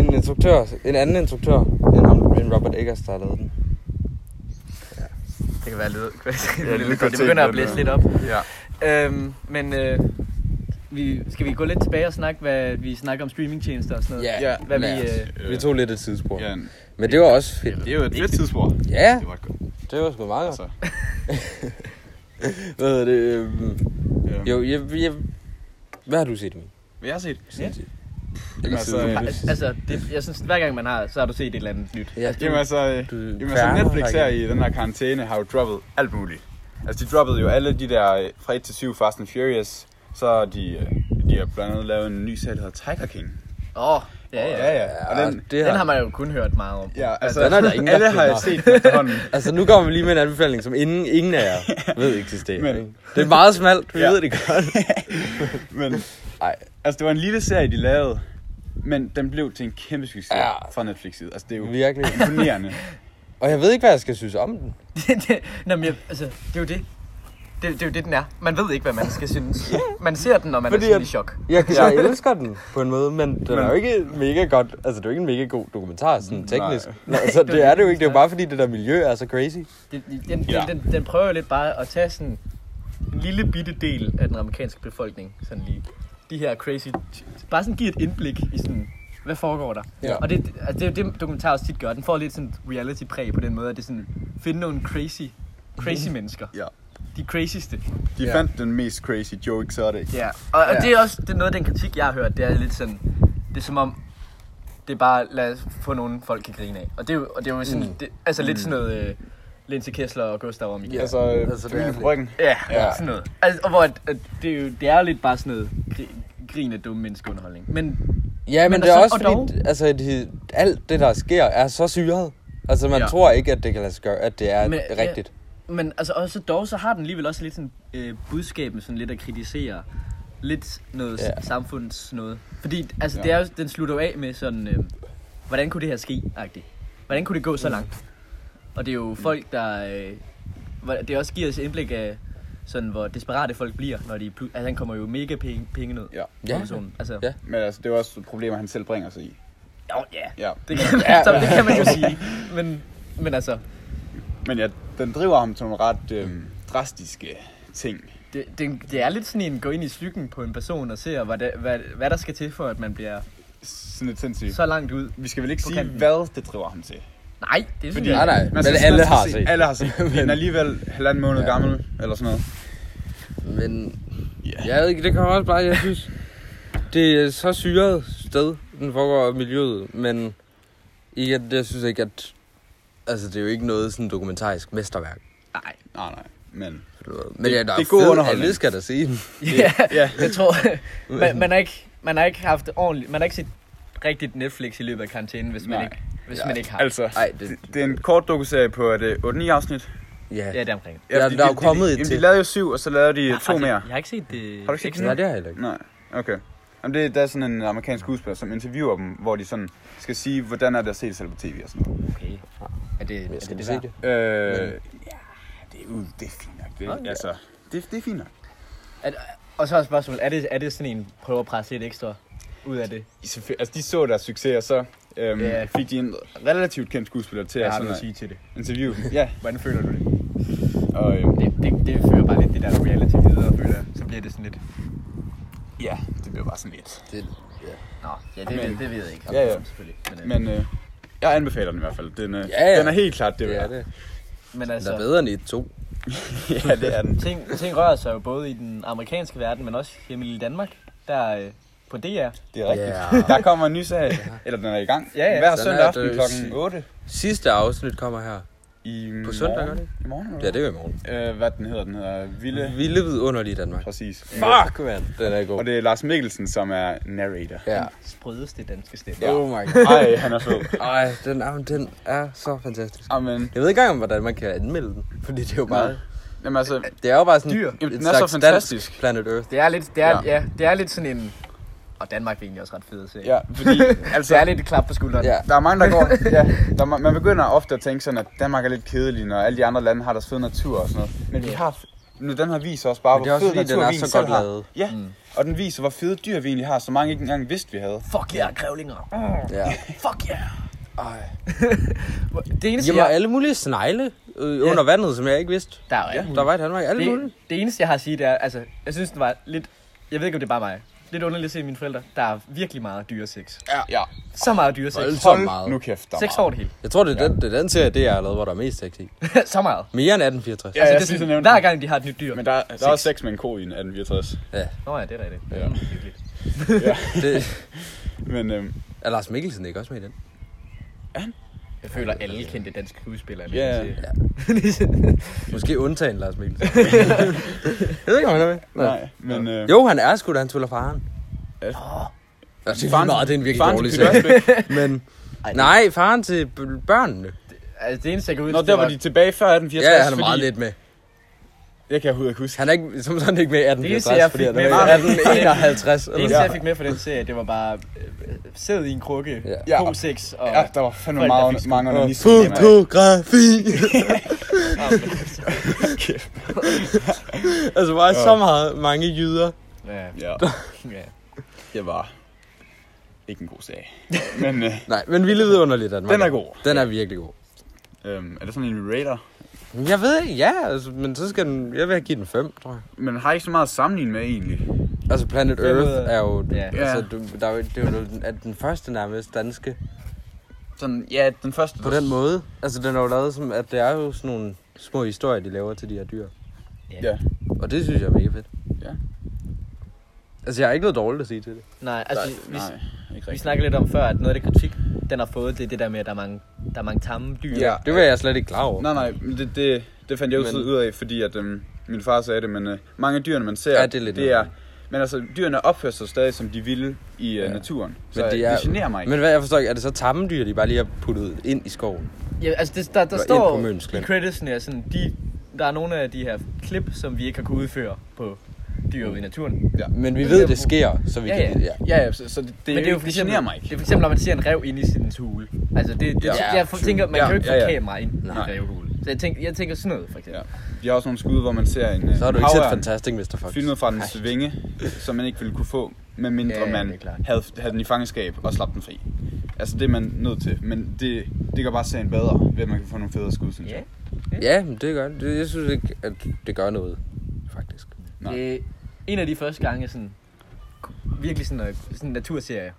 øh, en instruktør, en anden instruktør end, ham, end Robert Eggers, der havde lavet den,
Det kan være lidt...
Ja, lidt
det begynder at
kvalitet,
blæse
men,
lidt op.
Ja.
Øhm, men øh, vi, skal vi gå lidt tilbage og snakke, hvad vi snakker om streamingtjenester og sådan noget?
Ja,
hvad vi,
lad os.
øh,
Vi tog lidt et tidsspor.
Ja,
Men det var også fedt.
det er jo et fedt tidsspor.
Ja,
Det var et godt.
det var sgu meget godt.
Altså,
Hvad hedder det? øhm,
øhm,
Jo, jeg, jeg, hvad har du set, Emil?
Hvad jeg har set?
Ja.
Eller
altså,
siden?
øh,
al- altså, det, jeg synes, hver gang man har, så har du set et eller andet nyt.
Ja,
Jamen altså,
du
øh, jamen, altså
færger,
Netflix her
Rikke.
i den her karantæne har jo droppet alt muligt. Altså de droppede jo alle de der øh, fra 1 til 7 Fast and Furious. Så har de, øh, de har blandt andet lavet en ny serie, der hedder Tiger King.
Åh, oh, ja, ja.
ja. ja. Og den,
det
Den har man jo kun hørt meget om.
ja, altså,
den er der ingen, der
alle har jeg
kender.
set den efterhånden.
Altså, nu kommer vi lige med en anbefaling, som ingen, ingen af jer ved eksisterer.
Men-
Men... Det er meget smalt, vi
Ja.
ja. ved det godt.
Men
Ej.
altså, det var en lille serie, de lavede. Men den blev til en kæmpe succes
Ja.
fra Netflix side. Altså, det er jo
Virkelig.
imponerende.
Og jeg ved ikke, hvad jeg skal synes om den.
Det- det- Nå, men jeg, altså, det er jo det. Det, det er jo det, den er. Man ved ikke, hvad man skal synes. Man ser den, når man
Fordi
er sådan
at-
i chok.
Jeg, jeg elsker den på en måde, men den
Men-
er jo ikke mega godt. Altså, det er jo ikke en mega god dokumentar, sådan teknisk.
Nej.
Nej. Altså, det er det jo ikke. Det er jo bare fordi, det der miljø er så crazy.
Den, den,
Ja.
ja. den, den prøver jo lidt bare at tage sådan en lille bitte del af den amerikanske befolkning. Sådan lige de her crazy... Bare sådan give et indblik i sådan, hvad foregår der?
Ja.
Og det, altså det er jo det, dokumentar også tit gør. Den får lidt sådan et reality-præg på den måde, at det er sådan, finde nogle crazy, crazy
Mm.
mennesker.
Ja.
De crazyste.
De
Ja.
fandt den mest crazy Joe Exotic.
Ja, og, og
Ja.
det er også det er noget af den kritik, jeg har hørt. Det er lidt sådan, det er som om, det er bare, lad os få nogen folk kan grine af. Og det er jo, og det er jo sådan,
Mm.
det, altså lidt sådan noget øh, Linse Kessler og Gustav om igen.
Ja.
Ja,
Altså,
Altså,
altså
det
Camille
er-
på ryggen.
ja.
Ja.
sådan noget. Altså, og hvor at, at det, er jo, det er jo lidt bare sådan noget gri- grin af dumme menneskeunderholdning. Men
Ja, men, men
Men
det er
altså,
også
og
fordi, altså, de, alt det, der sker, er så syret. Altså, man ja.
Ja.
tror ikke, at det kan lade sig gøre, at det er men,
Men-
rigtigt.
Men altså også dog, så har den alligevel også lidt sådan øh, budskab med sådan lidt at kritisere lidt noget
Ja.
ja. samfunds noget. Fordi altså,
Ja.
det er, jo- den slutter jo af med sådan, øh, hvordan kunne det her ske, agtigt. Hvordan kunne det gå så langt? Og det er jo folk, der... Øh, hvor- det også giver os indblik af, sådan, hvor desperate folk bliver, når de... plu- Altså, han kommer jo mega penge, penge ned.
Ja.
Ja.
Personen. Altså,
Ja.
ja.
Men altså, det er jo også problemer, han selv bringer sig i.
Jo, ja.
Ja.
Det kan, man, så, det kan man jo sige. Men, men altså,
Men ja, den driver ham til nogle ret øh, drastiske ting.
Det, det, det er lidt sådan en gå ind i psyken på en person og se, hvad, der- hvad, hvad der skal til for, at man bliver
Sådan lidt sindssygt.
så langt ud.
Vi skal vel ikke
På
sige,
kanten.
hvad det driver ham til.
Nej, det synes
Fordi-
jeg
Nej,
ikke.
nej,
Man
men
skal- man
alle
skal
har
se-
set.
Alle har set. Men den er alligevel halvanden måned
Ja.
ja. gammel, eller sådan noget.
Men
Ja.
jeg ved ikke, det kommer også bare, jeg synes, det er så syret sted, den foregår i miljøet, men igen, jeg synes ikke, at altså, det er jo ikke noget sådan dokumentarisk mesterværk.
Nej.
Nej, nej. Men
Men ja, der
det er
er
god
fed,
underholdning.
Alle skal da se den.
Ja,
ja.
jeg tror, man, man, har ikke, man har ikke haft ordentligt, man har ikke set rigtigt Netflix i løbet af karantænen, hvis man,
Nej.
ikke, hvis
Ja.
man ikke har.
altså,
Ej, det-
det, det, er en kort dokuserie på er det 8-9 afsnit.
Ja,
Ja, det er omkring.
Ja,
fordi
der er
de-
jo
de-
kommet et
jamen,
til. Ah,
De lavede jo syv, og så lavede de
Jeg har
to
faktisk-
mere.
Jeg har ikke set det.
Har du ikke set
ekstra.
Nej, det har jeg heller ikke.
Nej, okay. Jamen, det, der er sådan en amerikansk skuespiller, som interviewer dem, hvor de sådan skal sige, hvordan er det at se det selv på tv og sådan noget.
Okay. Er det, er
Jeg
det,
skal
det, det
det se
værd?
det.
Øh, ja, det er, jo, det er fint nok. Det,
Nå, ja.
altså, det, det er fint nok.
Er, og så er spørgsmålet, er det, er det sådan en, prøve at presse lidt ekstra ud af det?
I selvfølgelig- Altså, de så deres succes, og så øhm,
Ja.
fik de en relativt kendt skuespiller til
Hvad
at
har du
sådan
at
at
sige til det?
interviewe dem. Ja,
Hvordan føler du det?
og øhm,
Det, det, det fører bare lidt det der reality videre, føler jeg. Så bliver det sådan lidt...
ja, det blev bare sådan lidt.
det ja.
Nå, ja, det,
Men-
ved, det ved jeg ikke.
Ja, ja.
Selvfølgelig. Men, øh, men,
Men øh, jeg anbefaler den i hvert fald. Den, øh,
Ja, ja.
den er helt klart det,
det er
værd.
det.
men
Den er
altså,
bedre end et to.
ja, det er den.
ting, ting rører sig jo både i den amerikanske verden, men også hjemme i Danmark. Der øh, på DR.
Det er rigtigt.
Ja.
Der kommer en ny serie, eller den er i gang,
Ja, ja.
hver
Sådan
søndag
er
aften
det.
kl. 8.
Sidste afsnit kommer her.
I
På søndag, gør det
det? I morgen,
Ja, det er jo i morgen.
det. Øh, hvad den hedder, den hedder Ville.
Vilde vidunderlige Danmark.
Præcis.
Fuck, mand. Den er god.
Og det er Lars Mikkelsen, som er narrator.
Ja.
Sprødeste danske stemme.
Oh my god.
Ej, han er fed.
Ej, den, jamen, den er så fantastisk.
Amen.
Jeg ved ikke engang, hvordan man kan anmelde den, fordi det er jo bare...
Nej. Jamen altså,
Det er jo bare sådan
Dyr. Jamen,
et
den er så
slags dansk
fantastisk.
Planet Earth.
Det er lidt, det er,
Ja.
ja. ja. det er lidt sådan en... Og Danmark er egentlig også ret fed at se.
ja, fordi altså,
Det er lidt et klap på skulderen.
Ja.
Der er mange, der går... Ja, der, er ma- man begynder ofte at tænke sådan, at Danmark er lidt kedelig, når alle de andre lande har deres fede natur og sådan noget. Men vi
Ja.
har... Nu, den her viser også bare,
Men det er
hvor
også
fed
fordi, den
natur
er
vi
så
selv
godt
har.
lavet.
Ja, mm. og den viser, hvor fede dyr vi egentlig har, så mange ikke engang vidste, vi havde.
Fuck yeah, grævlinger.
Ja.
Fuck yeah.
Ej.
Det eneste,
Jeg var
jeg,
alle mulige snegle øh,
Ja.
under vandet, som jeg ikke vidste.
der er jo alt
Ja,
muligt.
der var i Danmark. Alle mulige.
det, det eneste, jeg har at sige, det er, altså, jeg synes, det var lidt, jeg ved ikke, om det er bare mig, lidt underligt at se mine forældre, der er virkelig meget dyresex.
Ja.
Så meget dyresex.
Hold så
Hold
meget.
nu kæft, der er
Seks
meget.
år det hele.
Jeg tror, det er, den, det er den serie, det jeg har lavet, hvor der er mest sex i.
så meget.
Mere end 1864.
Ja, jeg
det er
synes, jeg
sådan,
nævnte
hver
det.
gang de har et nyt dyr.
Men
Men
der,
der...
er- der er sex med en ko i en 1864.
Nå ja, det er rigtigt.
Ja.
Hyggeligt.
Det,
Men øhm,
er Lars Mikkelsen ikke også med i den?
Jeg føler, alle kendte danske skuespillere. vil
Ja,
jeg
ja.
sige.
Måske undtagen Lars Mikkelsen. jeg ved ikke, om han er med. Nå.
nej, men... Øh,
Jo, han er sgu da, han tuller faren.
Ja.
Nå. Altså, det er lige meget, det er en virkelig
faren
dårlig
til Peter
serie.
Asbæk.
Men,
Ej, det-
nej, faren til b- børnene.
Altså, det eneste, jeg kan huske,
Nå, der var de tilbage før 1864,
Ja, han er meget
fordi,
lidt med.
Jeg kan overhovedet ikke huske.
Han er ikke, som sådan ikke med i
Det eneste,
1864,
jeg
fordi
fik
han
med
er med i
var-
1851.
Det
Eller
eneste,
sådan.
jeg fik med fra den serie, det var bare øh, sæd i en krukke,
Ja.
ja. god sex og...
Ja, der var fandme
Folk, der fik sgu-
meget, mange under
Fotografi!
Kæft.
altså, bare så meget mange jyder.
ja.
Ja,
ja.
det var ikke en god sag. Men øh,
Nej, men vi levede underligt, Danmark.
den er god.
Den er virkelig god.
Øhm, er det sådan en raider?
Jeg ved ikke, ja, altså, men så skal den, jeg vil have give den 5, tror jeg.
Men har ikke så meget at sammenligne med egentlig.
Altså Planet
Fem ud
Earth
af-
er jo,
Ja.
altså, du, der er, jo- det er jo den, er den første nærmest danske
Sådan, ja, den første...
på den måde. Altså den er jo lavet som, at det er jo sådan nogle små historier, de laver til de her dyr.
Ja.
Og det synes jeg er mega fedt.
Ja.
Altså jeg har ikke noget dårligt at sige til det.
Nej, altså, vi,
Nej, ikke
vi
rigtigt.
snakkede lidt om før, at noget af det kritik, den har fået, det er det der med, at der er mange, der er mange tamme dyr.
Ja.
Det var jeg slet ikke klar over.
Nej, nej, men det, det, det fandt jeg jo
Men-
men... ud af, fordi at øhm, min far sagde det, men øh, mange af dyrene, man ser,
Ja, det er lidt
det er,
noget.
men altså, dyrene opfører sig stadig, som de ville i øh,
Ja.
naturen. Så men det, er, det generer mig ikke.
Men hvad jeg forstår ikke, er det så tamme dyr, de bare lige har puttet ind i skoven?
ja altså, det, der, der
Eller ind på
står
Møns
i
Klint.
creditsene, at sådan, de, der er nogle af de her klip, som vi ikke har kunnet udføre på dyr ude i naturen.
Men vi ved, det sker, så vi
Ja,
kan...
ja.
Ja, ja, så, så det, det,
Men det er jo for
det
eksempel,
generer mig ikke.
det er for eksempel, når man ser en rev inde i sin hule. Altså, det, det,
Ja,
ja, jeg for-
true.
tænker, man
Ja,
kan jo ikke få
ja, ja.
kamera ind i en
Nej.
revhule. Så jeg tænker, jeg tænker sådan noget, for eksempel.
Ja. Vi har også nogle skud, hvor man ser en øh,
Så har du ikke set
havørn
Fantastic Mr. Fox.
filmet fra dens vinge, som man ikke ville kunne få, medmindre
Ja, ja, det er
man
klart.
havde, havde den i fangenskab og slap den fri. Altså det er man nødt til, men det, det gør bare serien bedre, ved at man kan få nogle federe skud, synes
Ja.
jeg.
Ja, men det gør det. Jeg synes ikke, at det gør noget, faktisk.
Nej.
Det er en af de første gange, jeg sådan, ku- virkelig sådan, øh, sådan en naturserie.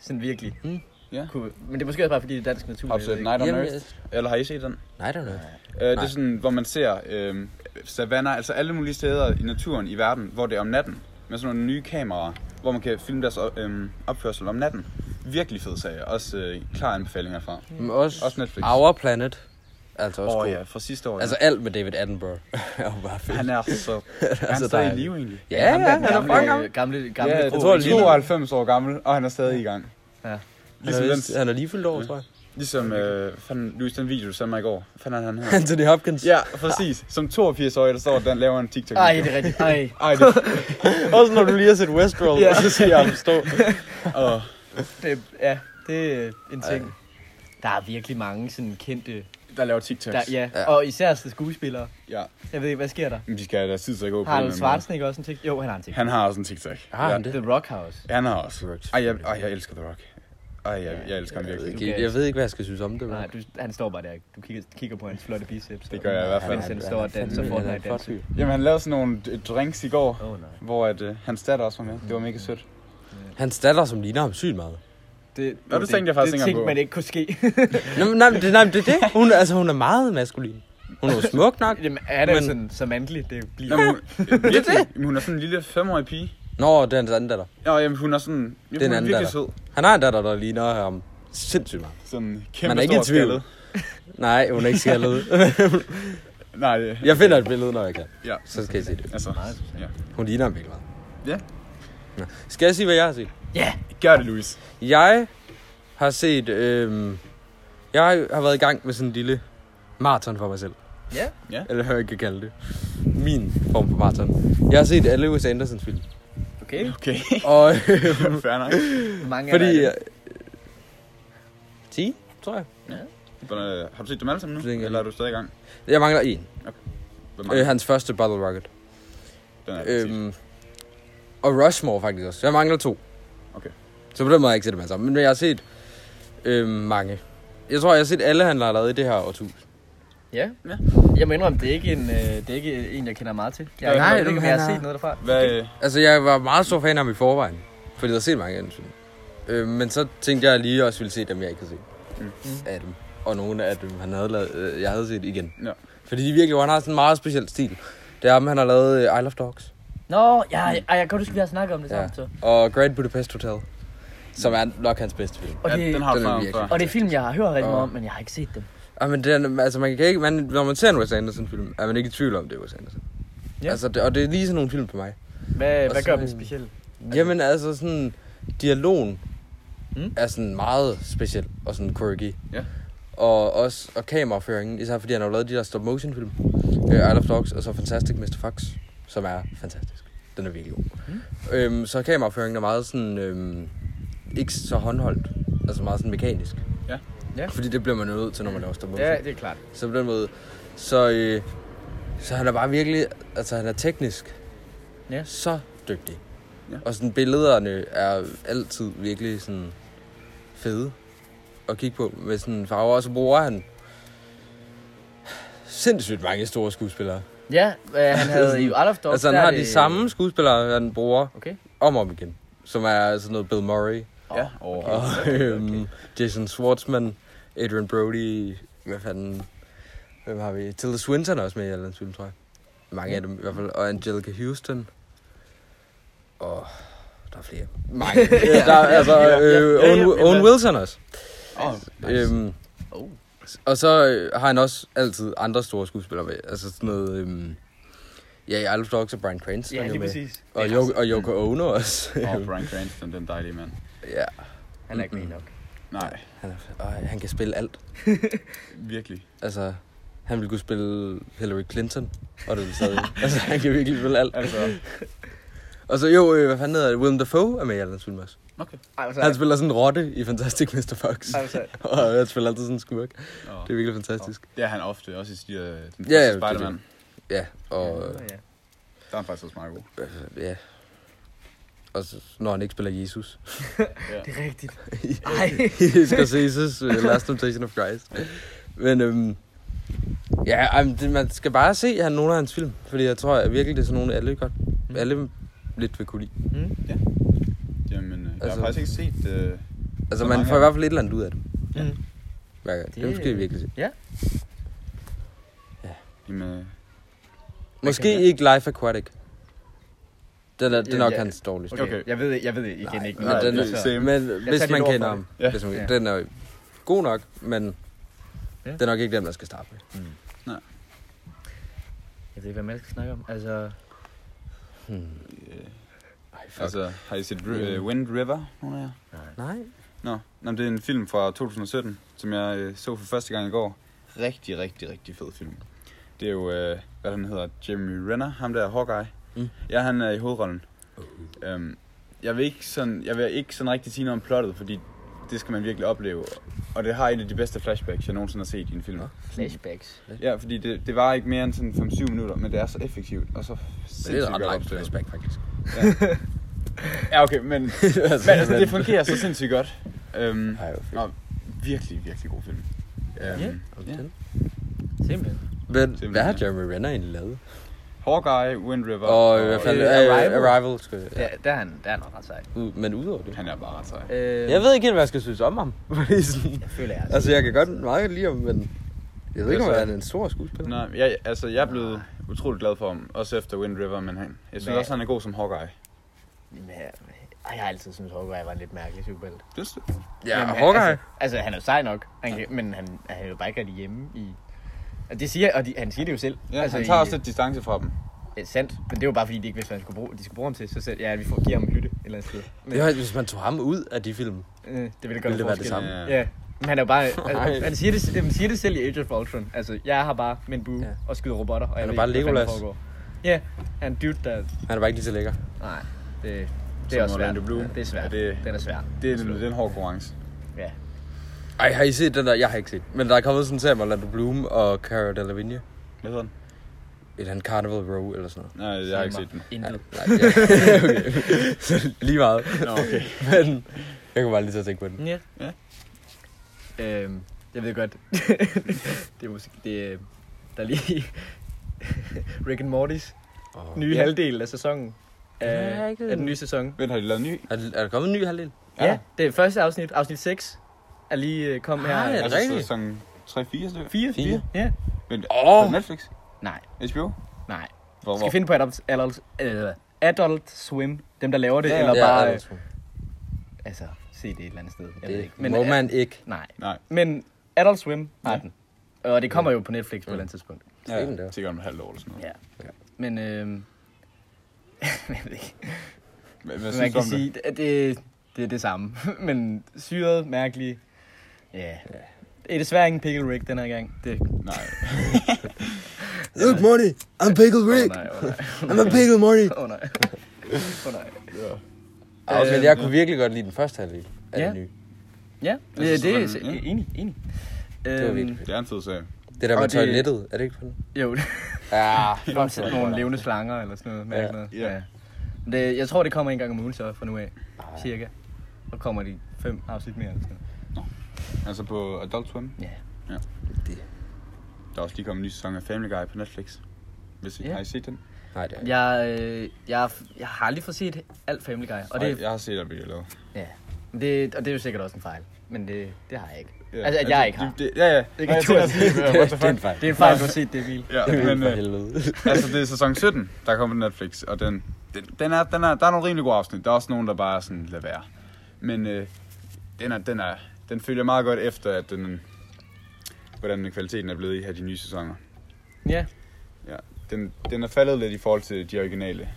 Sådan virkelig.
Mm.
Ja.
Kunne, men det er måske også bare fordi det er dansk natur. jeg
Absolut.
ved
Night on
Jamen, altså-
Earth. Eller har I set den?
Nej, det er noget.
Øh, det
Nej.
er sådan, hvor man ser øh, savanner, altså alle mulige steder i naturen i verden, hvor det er om natten, med sådan nogle nye kameraer, hvor man kan filme deres øh, opførsel om natten. Virkelig fed sag, også øh, klar anbefalinger fra.
Men også,
Også Netflix.
Our Planet. Altså også
Åh
oh,
ja, fra sidste år.
Altså
Altså,
alt med David Attenborough er jo bare fedt.
han er så... altså, han er
der
stadig
er-
i live egentlig.
Ja, ja, han er
gamle,
fucking
gamle,
gammel.
gamle, gamle
Ja,
grå
jeg tror,
det
han
er
er
englænder.
92 år gammel, og han er stadig i gang.
Ja.
Ligesom,
han, er vist,
den,
han er lige fyldt over, tror jeg.
ligesom øh, fanden, Louis, den video, du sendte mig i går. Hvad Fanden er han her?
Anthony Hopkins.
ja, præcis. Som 82-årig, der står, at den laver en tiktok
Ej, det er rigtigt. Ej.
Ej, det
Også når du lige har set Westworld,
Ja.
og så ser jeg ham stå.
Åh.
Det, Øh, ja, det er en ting. Ej. Der er virkelig mange sådan kendte...
der laver TikToks.
Der, ja.
Ja.
ja, og især sådan skuespillere.
ja.
Jeg ved ikke, hvad sker der?
Men de skal have deres tid til at gå på. en
Harald
eller anden måde.
Schwarzenegger også en ting? Jo, han har en ting.
Han har også en TikTok.
Har han det?
The Rock har også.
Han har også.
Works.
Ej, jeg, ej, jeg elsker The Rock. Ej, jeg, jeg elsker ham
Jeg ved,
virkelig.
ikke, jeg ved ikke, hvad jeg skal synes om det.
Nej, du, han står bare der. Du kigger, kigger på hans flotte biceps.
Det gør jeg i hvert fald.
Mens han står og danser for dig danser.
Jamen, han lavede sådan nogle d- drinks i går,
Åh, nej.
hvor at, øh, hans datter også var med. Det var mega sødt.
Han statter, som ligner ham sygt meget.
Det,
Nå, det tænkte jeg faktisk
det, det
ikke engang
tænkte
på.
man ikke kunne ske.
Nå, men nej, men det, nej, men det er det. Hun, er- altså, hun er meget maskulin. Hun er jo smuk nok.
Jamen, han er jo
Men-
sådan, så mandlig, det bliver.
Nå, men hun, øh, virkelig, Jamen, hun er sådan en lille femårig pige.
Nå, det er hans anden datter.
Ja, jamen, hun er sådan... Jamen,
Det er en
hun er
anden
virkelig
datter.
sød.
Han har en datter, der ligner ham sindssygt meget.
Sådan kæmpe
Man er ikke i
stor
tvivl.
skaldet.
Nej, hun er ikke skaldet.
Nej, det-
jeg finder et billede, når jeg kan.
ja.
Så skal jeg se det.
Altså,
Meget interessant.
ja.
Hun ligner ham virkelig meget.
Ja.
Nå. Skal jeg sige, hvad jeg har set?
Ja,
Gør det, Louis.
Jeg har set... Øhm, jeg har været i gang med sådan en lille maraton for mig selv.
Ja.
Ja.
Eller hvad jeg kan kalde det. Min form for maraton. Jeg har set alle Lewis Andersons film.
okay.
Okay.
Og... Øh,
Fair nok.
Hvor mange er
fordi...
der?
Øh, 10, tror jeg.
Hvordan, øh, Har du set dem alle sammen
Det er
nu?
ikke-
Eller er du stadig i gang?
Jeg mangler en.
Hvor
Øh,
mange?
hans første Bottle Rocket.
Den er øhm,
Øhm, og Rushmore faktisk også. Jeg mangler to.
Okay.
Så på den måde har jeg ikke set dem alle sammen. Men jeg har set øhm, mange. Jeg tror, jeg har set alle handler allerede i det her årtus.
Ja.
Ja.
Jeg må indrømme, det er ikke en, øh, det er ikke en jeg kender meget til. Jeg,
Nej,
jeg,
du-
jeg,
han
jeg har
har-
set noget derfra.
Hvad, øh,
Altså, jeg var meget stor fan af ham i forvejen, fordi jeg havde set mange af dem, synes jeg. øh, Men så tænkte jeg lige også ville se dem, jeg ikke havde set.
Mm.
Mm. Af dem. Og nogle af dem, han havde lavet, øh, jeg havde set igen.
Ja.
Fordi de virkelig, hvor han har sådan en meget speciel stil. Det er ham, han har lavet øh, Isle of Dogs
Nå, ja, jeg, ej, jeg kan godt huske, vi har snakket om det
Ja.
sammen. Så.
og Grand Budapest Hotel, som er nok hans bedste film.
Og,
ja,
det,
den har du
den er
snakket om
virkelig-
før.
og det er film, jeg har hørt rigtig meget
Og-
om, men jeg har ikke set dem.
Ah, men den, altså man kan ikke, man, når man ser en Wes Anderson-film, er man ikke i tvivl om, det er Wes Anderson.
Ja.
Ja. Altså, det, og det er lige sådan nogle film for mig.
Hvad,
Og
hvad
så-
gør dem specielle?
Jamen altså sådan, dialogen
Mm.
mm? er sådan meget speciel og sådan quirky.
Ja.
Og også og kameraføringen, især fordi han har jo lavet de der stop motion film. Øh, Isle of Dogs og så Fantastic Mr. Fox, som er fantastisk. Den er virkelig god.
Mm.
Mm. Øhm, så kameraføringen er meget sådan, øhm, ikke så håndholdt. Altså meget sådan mekanisk.
Ja.
Ja.
Fordi det bliver man jo nødt til, når man laver stop motion.
Ja, det er klart.
Så på den måde. Så, øh, så han er bare virkelig, altså han er teknisk
Ja.
så dygtig.
Ja.
Ja. Og sådan billederne er altid virkelig sådan fede at kigge på med sådan farver. Og så bruger han sindssygt mange store skuespillere.
Ja, hvad han havde i Isle of Dogs.
altså han
der er
har de
det-
samme skuespillere, han bruger
Okay.
om og om igen. Som er sådan noget Bill Murray
Ja, og
og øhm, Jason Schwartzman, Adrian Brody, hvad fanden, hvem har vi? Tilda Swinton er også med i Allan's film, tror jeg. Mange af dem i hvert fald, og Angelica Houston. Og der er flere. Mange. ja, der, er altså, øh,
ja, ja,
Owen,
men
Owen
hvad-
Wilson også.
oh, nice.
Øhm,
Oh.
og så øh, har han også altid andre store skuespillere med. Altså sådan noget... Øhm, ja, i Isle of Dogs og Brian Cranston
Ja, altså,
er jo
lige
med.
præcis.
Og, jo, og Yoko Ono også.
og Brian Cranston, den dejlige mand.
ja,
Han er ikke med nok.
Nej,
han, er, øh, han kan spille alt.
virkelig.
Altså, han ville kunne spille Hillary Clinton, og det ville stadig. altså, han kan virkelig spille alt.
Altså,
Og så jo, øh, hvad fanden hedder det? Willem Dafoe er med i Allan's film også.
okay.
Altså,
Han spiller sådan en rotte i Fantastic Mr. Fox.
altså,
og han spiller altid sådan en skurk.
Og
Det er virkelig fantastisk.
det er han ofte, også i de, øh, den
Ja,
første
ja,
Spider-Man.
Ja, og
Nå, ja.
Der er han faktisk også meget god.
øh, ja. Og så, når han ikke spiller Jesus.
Det er rigtigt. Ej.
I Scorsese's uh, Last Temptation of Christ. Men øhm, ja, ej, men det, man skal bare se han, nogle af hans film. Fordi jeg tror at virkelig, det er sådan nogle, alle godt.
Mm.
Alle lidt vil kunne lide.
Mm.
Jamen, øh, jeg
Altså-
har faktisk ikke set... Øh,
Altså,
Så
man
mange
får
af
i hvert fald et eller andet ud af det.
Ja. Mm.
Hver gang. Det,
Det-
det skal vi virkelig se.
jamen, øh,
Måske
kan-
ikke Life Aquatic. Den er, det er
Ja,
nok
ja.
hans dårligste.
Okay. okay.
Okay.
Jeg ved, jeg ved igen
Nej,
ikke.
men
noget.
den er-
Altså,
same.
Men
tager
hvis
dit
man
ord for
kender
det.
ham.
Ja.
Hvis man,
Ja.
Den er god nok, men
Ja.
det er nok ikke den, man skal starte med.
Jeg ved ikke, hvad man skal snakke om. Altså,
Hmm.
øh,
Ej, fuck.
altså, har I set Ri- øh, Wind River, nogen af jer?
Nej.
Nå, Nå men det er en film fra 2017, som jeg øh, så for første gang i går. Rigtig, rigtig, rigtig fed film. Det er jo, øh, hvad han hedder, Jeremy Renner, ham der er Hawkeye.
Mm. uh.
Ja, han er i hovedrollen. Øhm, jeg, vil ikke sådan, jeg vil ikke sådan rigtig sige noget om plottet, fordi det skal man virkelig opleve. Og det har et af de bedste flashbacks, jeg nogensinde har set i en film.
Nå.
flashbacks.
Ja, fordi det, det var ikke mere end sådan 5-7 minutter, men det er så effektivt, og så
Men det er
sindssygt
et ret
godt
langt
opstået.
flashback, faktisk.
Ja, okay, men, men
altså,
altså, det fungerer så sindssygt godt. Øhm,
Ej, hvor fedt.
Nå, virkelig, virkelig god film. Um,
Ja.
Okay.
ja.
Simpelthen.
Men hvad har
ja.
Jeremy Renner egentlig lavet?
Hawkeye, Wind River.
Og hvad fanden?
øh,
Øh,
Arrival.
Arrival. Arrival skulle jeg- ja.
Ja, der er han, der er han ret sej.
Ud- Men udover det.
Han er bare ret sej.
Øh,
Jeg ved ikke helt, hvad jeg skal synes om ham. Fordi sådan-
Jeg føler, jeg er
altså, jeg kan godt meget godt lide ham, men... Jeg ved ikke, om
Altså-
han er en stor skuespiller.
Nej, jeg, altså, jeg er blevet utrolig glad for ham, også efter Wind River, men han, jeg synes
Hvad?
også, han er god som Hawkeye.
Jamen, jeg, øh, ej, jeg har altid syntes, Hawkeye var en lidt mærkelig superhelt.
Synes du?
Ja,
Men,
Hawkeye.
Altså, altså, han er jo sej nok, han kan, men han, han er jo bare ikke rigtig hjemme i... Og det siger, og de, han siger det jo selv.
Ja, altså, han tager
i-
også lidt distance fra dem.
Ja, sandt, men det var bare fordi, de ikke vidste, hvad han skulle bruge, de skulle bruge ham til. Så selv, ja, vi får, giver ham en hytte et eller andet sted. Men,
Det var, hvis man tog ham ud af de film.
øh, det ville gøre
Ville det
en
være det
forskel.
samme?
Ja.
Ja, men han er jo bare... Altså,
Nej.
han, siger det, han siger det selv i Age of Ultron. Altså, jeg er her bare med en bue ja.
Ja.
og skyder robotter, og jeg
er
ved
bare
ikke, hvad fanden
Legolas.
foregår. Ja, han er en dude, der...
Han er bare ikke lige så lækker.
Nej, det, det
Som
er også svært.
Orlando Bloom.
Ja, det er svært.
Ja, det-
Den er svær.
Det er, den- det er en hård konkurrence.
Ja.
Ej, har I set den der? Jeg har ikke set. Men der er kommet sådan en serie med Orlando Bloom og Cara Delevingne. Et
Hvad hedder den?
eller andet Carnival Row eller sådan noget.
Nej, jeg har ikke set den.
Intet.
Nej, ja. okay. Så lige meget.
Nå, okay.
Men jeg kunne bare lige så tænke på den.
Ja.
Ja.
Øhm, Jeg ved godt. det er måske... Det, er- der er lige... Rick and Mortys
Oh.
nye
Ja.
halvdel af sæsonen.
har jeg
Af,
ikke
af den nye sæson.
Vent, har de lavet ny?
Er, er der kommet en ny halvdel?
Ja, ja det er første afsnit. Afsnit 6 er lige øh, kom her.
Ej, er det
Altså,
rigtigt?
sæson 3-4 stykker?
4?
Fire.
Ja.
Vent,
Åh.
oh. på Netflix?
Nej,
HBO?
nej.
Hvor,
Skal
hvor?
vi finde på Adult, adult, øh, adult Swim? Dem, der laver det?
Ja, ja.
eller
ja,
bare...
er
Øh,
det,
altså, se det et eller andet sted. Jeg ved
det
ikke.
men, må
øh,
man ikke.
Nej.
Nej.
Men Adult Swim har
Ja.
den. Og det kommer jo på Netflix på et eller
Mm.
andet tidspunkt.
Sådan
Ja,
der.
sikkert om et halvt år eller sådan noget.
Ja. Men øhm, jeg ved ikke.
Hvad, hvad
man
synes du
kan
om det?
sige, at det, det er det samme. Men syret, mærkelig. Ja. Det er desværre ingen pickle rig den her gang. Det,
Nej.
Look, Morty, I'm Pickle Rick.
Åh nej, åh nej.
I'm a Pickle Morty.
Åh nej. Åh nej.
Øh, men jeg
Øh, ja.
kunne virkelig godt lide den første halvdel af
Ja.
den nye.
Ja,
Jeg synes,
det, det er
sådan, ja.
enig, enig.
Det var
Øhm,
virkelig fedt.
Det er en fed serie.
Det der
og
med
det-
toilettet, er det ikke på den?
Jo,
Ja,
Fuck, sætte nogle levende slanger eller sådan noget.
Ja.
Mærke noget.
Ja.
Ja. Men Det, jeg tror, det kommer en gang om ugen så fra nu af.
Ah.
Cirka. Og kommer de fem afsnit mere eller sådan noget.
Altså på Adult Swim.
Ja.
Der er også lige kommet en ny sæson af Family Guy på Netflix. Hvis I,
Ja.
Har I set den?
Nej, det er ikke.
Jeg, øh, jeg, jeg har aldrig fået set alt Family Guy. Og
Nej,
det,
jeg har set, at vi har lavet.
ja. Men det, og det er jo sikkert også en fejl. Men det, det har jeg ikke.
Ja,
Altså, at jeg ikke har.
det- Det, ja, ja.
kan
Nej, jeg
du
tænker
altså
også lige,
Det,
øh, what the
det er en
fuck?
fejl.
Det er en fejl, du har set det, Emil.
Ja,
Det er
men
for
øh,
helvede.
altså, det er sæson 17, der er kommet på Netflix, og den, den, den er, den er, der er nogle rimelig gode afsnit. Der er også nogen, der bare er sådan, lad være. Men øh, den, er, den, er, den følger meget godt efter, at den, hvordan kvaliteten er blevet i her de nye sæsoner.
Ja.
Ja, den, den er faldet lidt i forhold til de originale,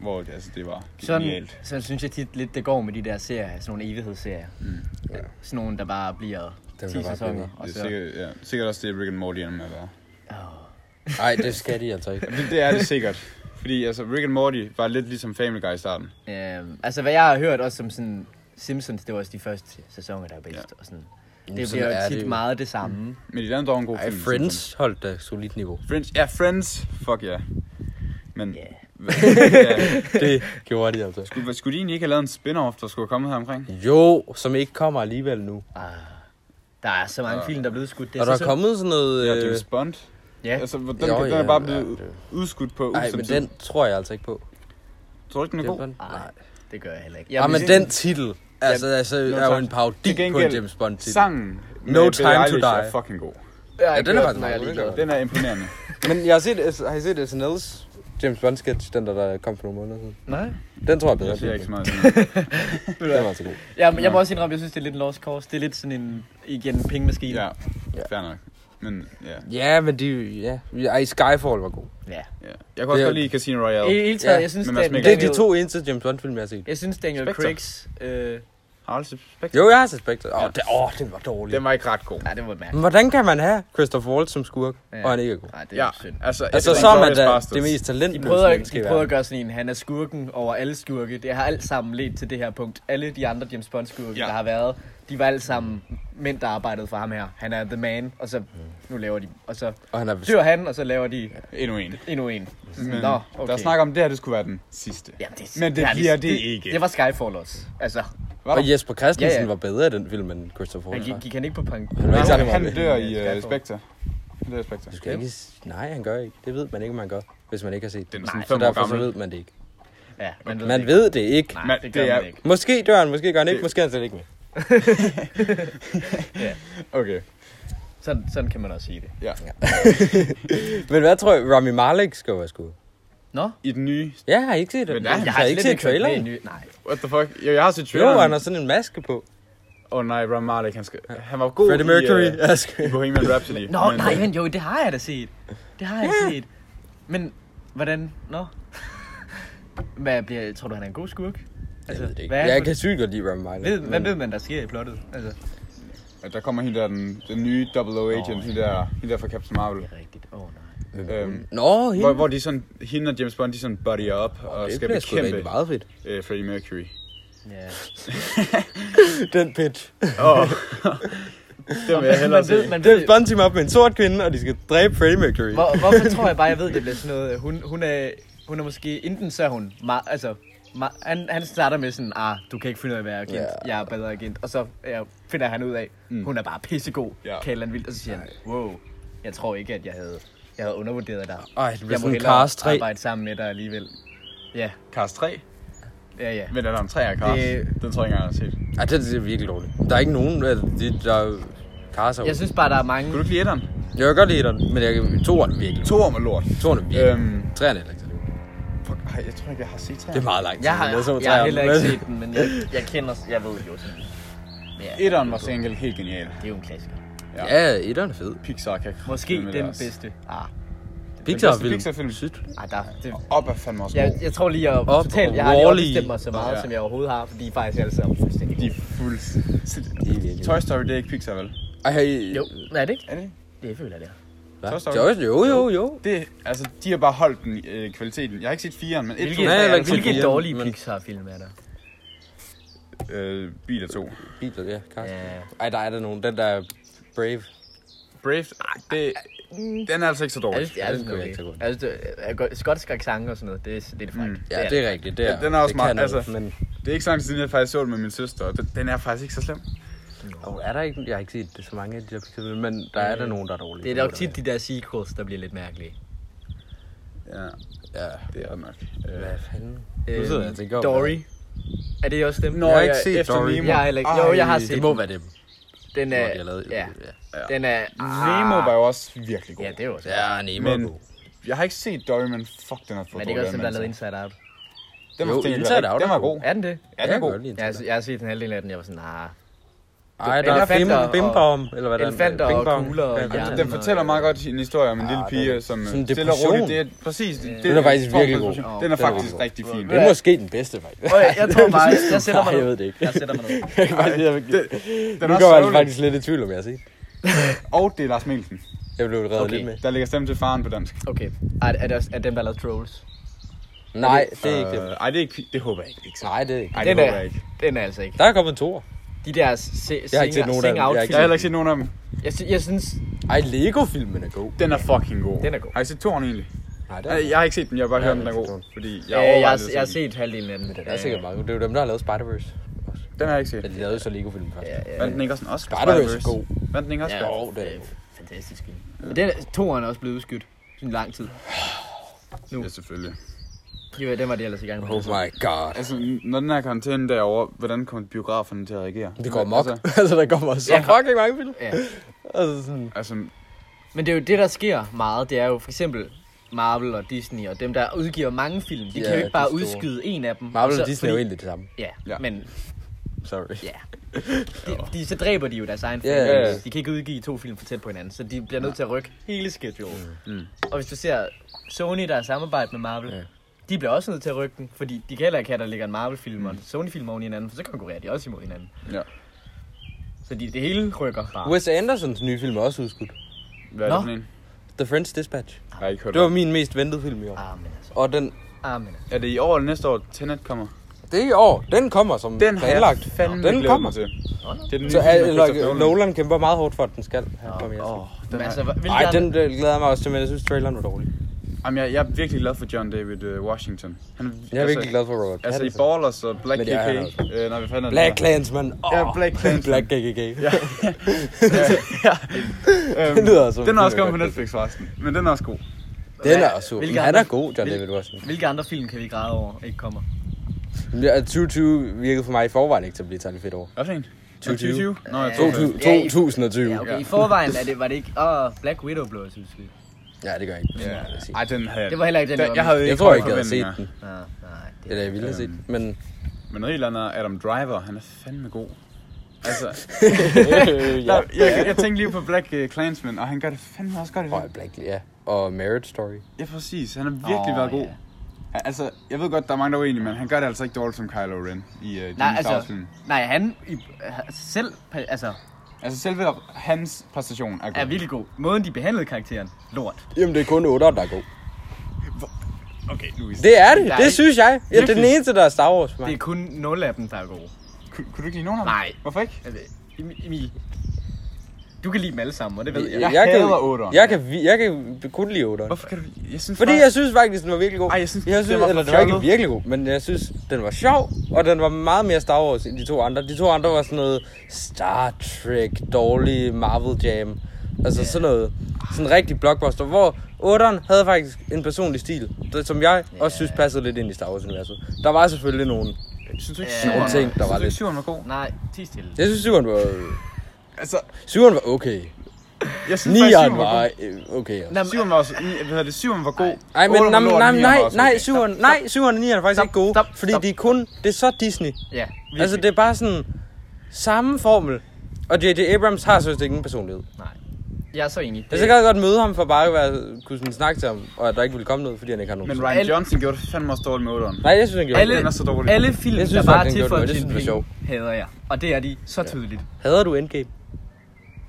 hvor det, altså, det var
Sådan,
genialt.
sådan synes jeg tit lidt, det går med de der serier. Sådan nogle evighedsserier.
Mm.
Ja.
Sådan nogle, der bare bliver
Den
10
bliver bare
sæsoner.
ved.
Og
Det
så,
er sikkert, ja, sikkert også det, Rick and Morty er med at være.
Åh.
Nej, det skal de altså ikke.
Det, det er det sikkert. Fordi altså, Rick and Morty var lidt ligesom Family Guy i starten.
Øh, altså, hvad jeg har hørt også som sådan... Simpsons, det var også de første sæsoner, der er bedst. Ja. Og sådan. Det
Jamen, sådan
bliver
er
jo tit
det jo. Mhm.
meget det samme.
Men de lavede dog en god
Ej,
film.
Friends holdt da solidt niveau.
Friends. Ja, Friends. Fuck ja. Yeah. Men
Ja.
ja.
Det gjorde de altså.
Skulle, skulle de egentlig ikke have lavet en spin-off, der skulle have kommet her omkring?
Jo, som ikke kommer alligevel nu.
Ah, der er så mange film, der er blevet skudt. Det
Ah. Og der
så
er kommet sådan noget...
Ja,
øh,
James Bond.
Ja.
Altså, den, jo,
Jo,
den
ja,
er bare
ja,
blevet
det-
udskudt på
Nej, men
ubestemt
den tror jeg altså ikke på.
tid. Tror du ikke, den er god?
James Bond?
Nej, Ah, det gør jeg heller ikke.
Ja, Ah, men
vil-
den titel, altså, altså
Nå,
er jo
tak.
en parodi
Til
på en
gengæld,
James Bond titel.
Sangen med
No
Billie
Time to
Eilish er
Die.
fucking god.
Jeg har
Ja,
ikke
den er
hørt
faktisk
og jeg
meget
ligeglad.
god.
Den er imponerende.
Men jeg har set, har I set SNL's James Bond sketch, den der, der kom for nogle måneder siden?
Nej.
Den tror jeg bedre.
Jeg siger ikke så meget.
Den var altså god.
Jeg, jeg må også indrømme, jeg synes, det er lidt en lost cause. Det er lidt sådan en, igen, en pengemaskine.
Ja,
Ja.
fair nok. Men ja.
Ja, men de, ja. Ej, Skyfall var god.
ja.
ja. Jeg kan også
Det er-
godt lide Casino
I
Royale.
i hele taget,
Ja,
jeg synes,
men
Dan-
Mads Mikkelsen-
Det er
Daniel,
de to eneste James Bond-film, jeg har set.
Jeg synes, Daniel
Spectre.
Craig's... Øh,
Harald Spectre.
Jo, jeg har set Spectre. Åh,
Ja.
oh, det, oh, den var dårlig.
Den var ikke ret god.
nej, det var
Men
mærkeligt.
hvordan kan man have Christopher Waltz som skurk,
Ja.
ja. og han ikke er god?
Nej, det er
Ja,
ja. synd.
altså...
Altså,
Inglourious
så er man da
Basterds.
det mest
De
talentløse
prøver,
menneske i
de prøver at
verden.
gøre sådan en, han er skurken over alle skurke. Det har alt sammen ledt til det her punkt. Alle de andre James Bond-skurke,
Ja.
ja. der har været, de var alle sammen mænd, der arbejdede for ham her. Han er the man, og så nu laver de... Og så
Og han er vist...
dør han, og så laver de
Endnu en.
endnu en. Så sådan,
Men
Nå,
okay.
okay.
der snakker om, det her det skulle være den sidste.
Jamen, det,
Men det
har de-
bliver det ikke.
Det var Skyfall også. Altså,
Var der?
Og Jesper Christensen
Ja,
ja,
ja.
ja. var bedre i den film, end Christopher
han
Waltz
gik,
var.
gik han ikke på punk.
var ikke særlig
han
meget
dør
ved.
i uh,
Skyfall.
Spectre. Han dør i Spectre.
Du skal ikke... s- Nej, han gør ikke. Det ved man ikke, man gør, hvis man ikke har set
Den
den.
er sådan
Så
fem år
derfor så
gammel.
ved man det ikke.
Ja, man ved, det
Man
ikke.
ved det ikke.
Nej,
Man-
det gør
det er-
man ikke.
Måske dør han, måske gør han ikke,
Det-
måske er han slet ikke med.
Okay,
Sådan, sådan kan man også sige det.
ja.
Men hvad tror jeg, Rami Malek skal være skud?
Nå?
I den nye...
Ja, har I ikke set det?
Men
Jeg
nej,
har I ikke
slet
set
hørt med
traileren.
i ny- Nej.
What the fuck? Jo, jeg har set
Jo,
traileren.
han har sådan en maske på.
Åh oh, nej, Ron Marley, han, skal... han var god
Freddie Mercury.
i, uh, i Bohemian Rhapsody.
Nå, nej, men øh, jo, det har jeg da set. Det har jeg set. Men, hvordan? Nå? Hvad bliver, tror du, han er en god skurk?
Jeg ved det ikke.
Altså, Hvad, er
Jeg
han
kan sygt godt lide Rami Malek.
for- ved, hvad
men-
ved man, der sker i plottet? Altså, det
Øh, Der kommer hende der, den, den nye Double O Agent,
Nå,
hende der, hende der fra Captain Marvel.
er rigtigt. Åh, oh, nej.
Øhm,
Nå, hende.
hvor, hvor de sådan, hende og James Bond, de sådan buddy up og
det
skal
bliver sgu da
bekæmpe
egentlig meget fedt.
uh, Freddie Mercury.
Ja.
Den pitch.
Åh, det vil jeg hellere
Man
se.
ved, man
Den
ved,
Bond team op med en sort kvinde, og de skal dræbe Freddie Mercury.
øh, hvor, hvorfor tror jeg bare, jeg ved, det bliver sådan noget, hun, hun, er, hun er måske, enten så er hun meget, altså, Ma- han, han starter med sådan, ah, du kan ikke finde ud af, hvad jeg er agent.
Ja.
Jeg er bedre agent. Og så ja, finder han ud af, mm. hun er bare pissegod.
Ja.
Ja. Kan et eller andet vildt. Og så siger han, wow, jeg tror ikke, at jeg havde, jeg havde undervurderet dig.
Ej, det bliver
jeg
sådan Cars 3.
arbejde sammen med dig alligevel. Ja,
Cars 3?
ja, ja.
Men er der en 3 af Cars?
Det-
Den tror jeg ikke engang, jeg har set.
Ej, det, det er virkelig dårligt. Der er ikke nogen, altså, de, der er karser.
Jeg synes bare, der er mange...
Kunne du ikke lide etteren?
Jeg kan godt lide den, men jeg kan... Toren er virkelig.
Toren var lort.
Toren er virkelig.
Øhm.
Øhm. Træerne er heller ikke så lille.
Fuck, ej, jeg tror ikke, jeg har set 3.
Det er meget langt.
Jeg har,
Det er som
jeg,
at
jeg har
træerne,
heller ikke
men-
set den, men jeg, jeg kender... Jeg ved jo sådan. Ja,
Etteren var til gengæld helt genial.
det er jo en klassiker.
Ja, etteren er fed.
Pixar kan
Måske
filme
den
deres.
bedste. Ah,
Pixar
bedste
film.
Pixar-film.
Sygt.
ej, der, det,
Op er fandme også
jeg,
god.
jeg tror lige, at
Op
totalt,
og
jeg har lige
Wall-E.
overbestemt mig så meget,
Ja.
som jeg overhovedet har, fordi I er faktisk alle sammen fuldstændig
De
gode.
er fuldstændig...
virkelig-
Toy Story, det er ikke Pixar, vel?
Ej,
Jo, er det ikke?
Er det ikke?
Det føler jeg, det er.
Hva?
Toy Story.
Jo, jo, jo, jo.
Det, altså, de har bare holdt den øh, kvaliteten. Jeg har ikke set 4'eren, men 1, 2,
Hvilke,
Nej, jeg har ikke set
hvilke
den.
dårlige
Men-
Pixar-film er der?
øh, bil er 2.
Bibler, ja, Cars.
Ja.
Ej, der er der nogen. Den der er Brave.
Brave, det, den er altså ikke så
Jeg
dårlig.
synes, jeg
den
synes,
kunne jeg
okay.
ikke så godt. Mm,
jeg synes, altså, det er godt. Skotsk accent og sådan noget, det, er- det er det faktisk.
Ja, det er rigtigt. Det er,
Ja, den er også
det
meget-
kan noget,
altså-
men
Det er ikke så lang tid siden, jeg faktisk så den med min søster, og den, den er faktisk ikke så slem.
oh, er der ikke... Jeg har ikke set så mange af de der Pixar film, men der er der
Øh,
nogen, der er dårlige.
Det er
må
nok
der
tit de der sequels, der bliver lidt mærkelige.
Ja,
være. Ja.
det er det nok.
Hvad
Øh,
fanden? Nu sidder jeg og tænker om,
Øhm, Dory. Er det også dem?
Nå,
Jeg har
ja,
ikke set
efter
Dory.
Nemo.
Jeg har heller ikke. Jo, jeg har
Ej,
set
Det må
den.
være dem,
Den
hvor
er...
de har lavet.
Ja.
ja.
Den er... Ah,
Nemo var jo også virkelig god.
Ja, det er jo også.
Ja, Nemo
Men-
er god.
Jeg har ikke set Dory, men fuck, den er for
Men det er ikke også dem, der
altså.
lavede Inside Out.
Den
Jo,
var stil-
Inside Out
Den
er
var
god.
god.
Er den det?
Ja, den er
jeg kan
god.
godt lide den.
Jeg har, jeg har set en halvdel af den, jeg var sådan, nah.
Ej, der er
Elefanter
bim,
og-
bimbom, eller hvad der
elefanter og kugler og hjerner.
Den fortæller meget godt en historie om en lille pige,
den-
som
sådan
øh,
en
stille og
depression.
roligt. Det er præcis. Det,
Den er faktisk
form for
virkelig god.
depression.
Åh,
Den er
den er
faktisk
god.
rigtig fin.
Det er måske den bedste, faktisk.
Åh, jeg, jeg tror bare, jeg sætter mig
Nej,
ned.
jeg ved det ikke.
Jeg sætter mig ned.
Jeg kan bare sige, at jeg-
Den
Nu
er
går
også
jeg
sørgelig.
faktisk lidt i tvivl om, jeg har set.
Og det er Lars Mikkelsen.
Jeg blev reddet
Okay.
lidt med.
Der ligger stemme til faren på dansk.
Okay. Er, er det også er dem, der lavede Trolls?
Nej, det er ikke det.
Øh, Ej, det, er ikke, det håber jeg ikke. ikke så.
Nej, det er ikke.
Ej,
Den
det håber
er-
jeg ikke.
Den er altså ikke.
Der er kommet en toer.
De der se,
Jeg har ikke set nogen af dem. Jeg har ikke
Jeg har
outfit.
heller ikke set nogen af dem.
Jeg, sy- jeg synes,
Ej, Lego-filmen er god.
Den er fucking god.
Den er god.
Har I set toren egentlig?
Nej, det er
Nej, Jeg har ikke set den, jeg har bare
Ja,
hørt, den
jeg
er
har
god.
ikke
Fordi jeg,
jeg, jeg,
overvejede
jeg,
at se
jeg har
den.
set halvdelen af den.
Der er sikkert mange. Det er jo dem, der har lavet Spider-Verse. også.
Den har jeg ikke set.
Ja, de lavede jo så Lego-filmen først. Oh
Ja, ja.
Vandt den ikke også en Oscar?
Spider-Verse er
Spider-Verse?
god.
Vandt den ikke også?
Ja,
Ja.
Jo, det er
øh, fantastisk film. Men den, toeren er også blevet udskudt i en lang tid.
ja, selvfølgelig.
Jo, den var det ellers i gang med.
Oh my god.
Altså, n- når den her karantæne derovre, hvordan kommer biograferne til at reagere?
Det går mok.
Altså,
Altså, der kommer så
Ja.
fucking mange film.
Ja.
Altså, sådan...
altså
Men det er jo det, der sker meget. Det er jo for eksempel Marvel og Disney og dem, der udgiver mange film. De
Ja,
kan jo ikke bare
de store.
udskyde en af dem.
Marvel
så-
og Disney er jo egentlig det samme.
Ja,
Ja.
ja. men
Sorry.
ja. De, de, så dræber de jo deres egen film.
Ja, ja, ja.
De kan ikke udgive to film for tæt på hinanden, så de bliver nødt til at rykke hele schedulen. Mm. Og hvis du ser Sony, der har samarbejde med Marvel,
Ja.
de bliver også nødt til at rykke den, fordi de kan heller ikke have, at der ligger en
Mm.
Marvel-film og en Sony-film oven i hinanden, for så konkurrerer de også imod hinanden.
ja.
Så de, det hele rykker bare.
Wes Andersons nye film er også udskudt.
Hvad er
Nå.
det for en?
The French Dispatch.
Jeg har ikke hørt
Det var
om.
min mest ventede film i år.
Amen altså.
Og den,
Amen altså.
Er det i år eller næste år, Tenet kommer?
det er i år. Den kommer som
Den har
planlagt.
jeg fandme
den
glædet
kommer.
mig til.
Nå, nå.
Det er den nye
Så
film med
øh,
Christopher
Nolan- Nolan kæmper meget hårdt for, at den skal have oh, premiere.
Åh, den
Men altså,
er...
hva- hvilke
Ej,
andre-
den øh, glæder jeg mig også til, men jeg synes, traileren var dårlig.
Jamen, jeg, jeg er virkelig glad for John David øh, Washington. Han,
Jeg er virkelig glad for Robert
Altså, i
Pattinson.
Ballers og Black
Men det er
KK.
han også.
Øh, når vi fandt
Black Clansman. Oh,
Ja, Black Klansman.
Black KKK. Ja.
øhm,
Det lyder som
Den er
en film,
også kommet på
jeg godt
Netflix forresten. Men den er også god.
Den er
Hva-
også super.
hvilke
Men Han
andre-
er god, John
hvil-
David Washington.
Hvilke andre film kan vi græde over, ikke kommer?
Ja, 2020 virkede for mig i forvejen ikke til at blive et særlig fedt år.
Hvad for en?
2020.
2020? Nå, jeg
Ja.
tror det.
2000-
Ja, i-
2020.
Ja, okay. I forvejen er det, var det ikke... Åh, oh, Black Widow blev jeg synes vi.
Ja, det gør jeg ikke.
Ja.
Sådan vil jeg sige.
Ej, den havde jeg.
Det var heller ikke den,
Den-
jeg var
jeg havde
Jeg
ikke
tror
høje
ikke, jeg havde set
forventninger. Øhm.
den.
Nå, nej, det,
Eller jeg ville have set den. Men
Men noget helt andet er Adam Driver, han er fandme god. Altså,
ja.
der, jeg, jeg tænkte lige på Black øh, Clansman, og han gør det fandme også godt i
Åh,
det.
Black, ja. Og Marriage Story.
Ja, præcis. Han har virkelig
Åh,
været god.
ja.
Ja, Altså, jeg ved godt, der er mange, der er uenige, men han gør det altså ikke dårligt som Kylo Ren i uh, Jimmy
Nej,
altså...
altså, nej, han i, øh, selv altså,
Altså, selve hans præstation er god.
er virkelig god. Måden, de behandlede karakteren, lort.
Jamen, det er kun 8, der er god.
Okay, Louis. Det...
Det er det.
Der er
Det
ikke-
synes jeg. Ja, det er den
Virkelig.
eneste, der er Star Wars for
Det er
mig.
kun nul af dem, der er gode.
Kunne, kunne du ikke lide nogen af dem?
Nej.
Hvorfor ikke?
Altså, Em- Emil, Du kan lide dem alle sammen, og det ved jeg.
Jeg hader otteren.
jeg, kan, vi- jeg kan kun lide 8'eren.
Hvorfor kan du... Jeg synes
Fordi
bare-
jeg synes faktisk, den var virkelig god.
Ej, jeg synes,
jeg synes
den var for
eller, den var ikke
fjollet.
virkelig god, men jeg synes, den var sjov, og den var meget mere Star Wars end de to andre. De to andre var sådan noget Star Trek, dårlig Marvel Jam. Altså sådan noget, sådan en rigtig blockbuster, hvor 8'eren havde faktisk en personlig stil, det, som jeg også synes passede lidt ind i Star Wars-universet. Der var selvfølgelig nogen.
Synes du ikke,
Ja,
syveren
jeg
var-
tænkte, der
synes
var
du ikke,
lidt-
syveren var god?
Nej, ti stille.
Jeg synes, 7'eren var,
Altså,
7'eren var okay.
jeg synes faktisk,
9'eren
syveren var
var
god.
øh, okay også.
Nå,
Syveren var også... ni- Hvad hedder det? Syveren var god.
Ej, men
Otteren
nej,
var lort,
nej,
nieren
nej,
var også
nej,
okay.
syveren, nej, syveren og nieren er faktisk
Stop,
ikke gode,
stop,
fordi
stop.
det er kun, det er så Disney.
Ja, virkelig.
Altså, det er bare sådan samme formel. Og J.J. Abrams har sådan set ingen personlighed.
Nej. Jeg er så enig.
Jeg så kan jeg godt møde ham for bare at være, kunne sådan snakke til ham, og at der ikke ville komme noget, fordi han ikke har nogen.
Men
person.
Ryan
Alle-
Johnson gjorde det fandme også dårligt med otteren.
Nej, jeg synes, han gjorde
alle,
den
det.
er så dårlig.
alle film,
Jeg synes
der
faktisk,
bare er
den
til
gjorde
for
det.
at
Jeg synes,
tjene
den var
penge, hader jeg. Og det er de så tydeligt.
Hader du Endgame?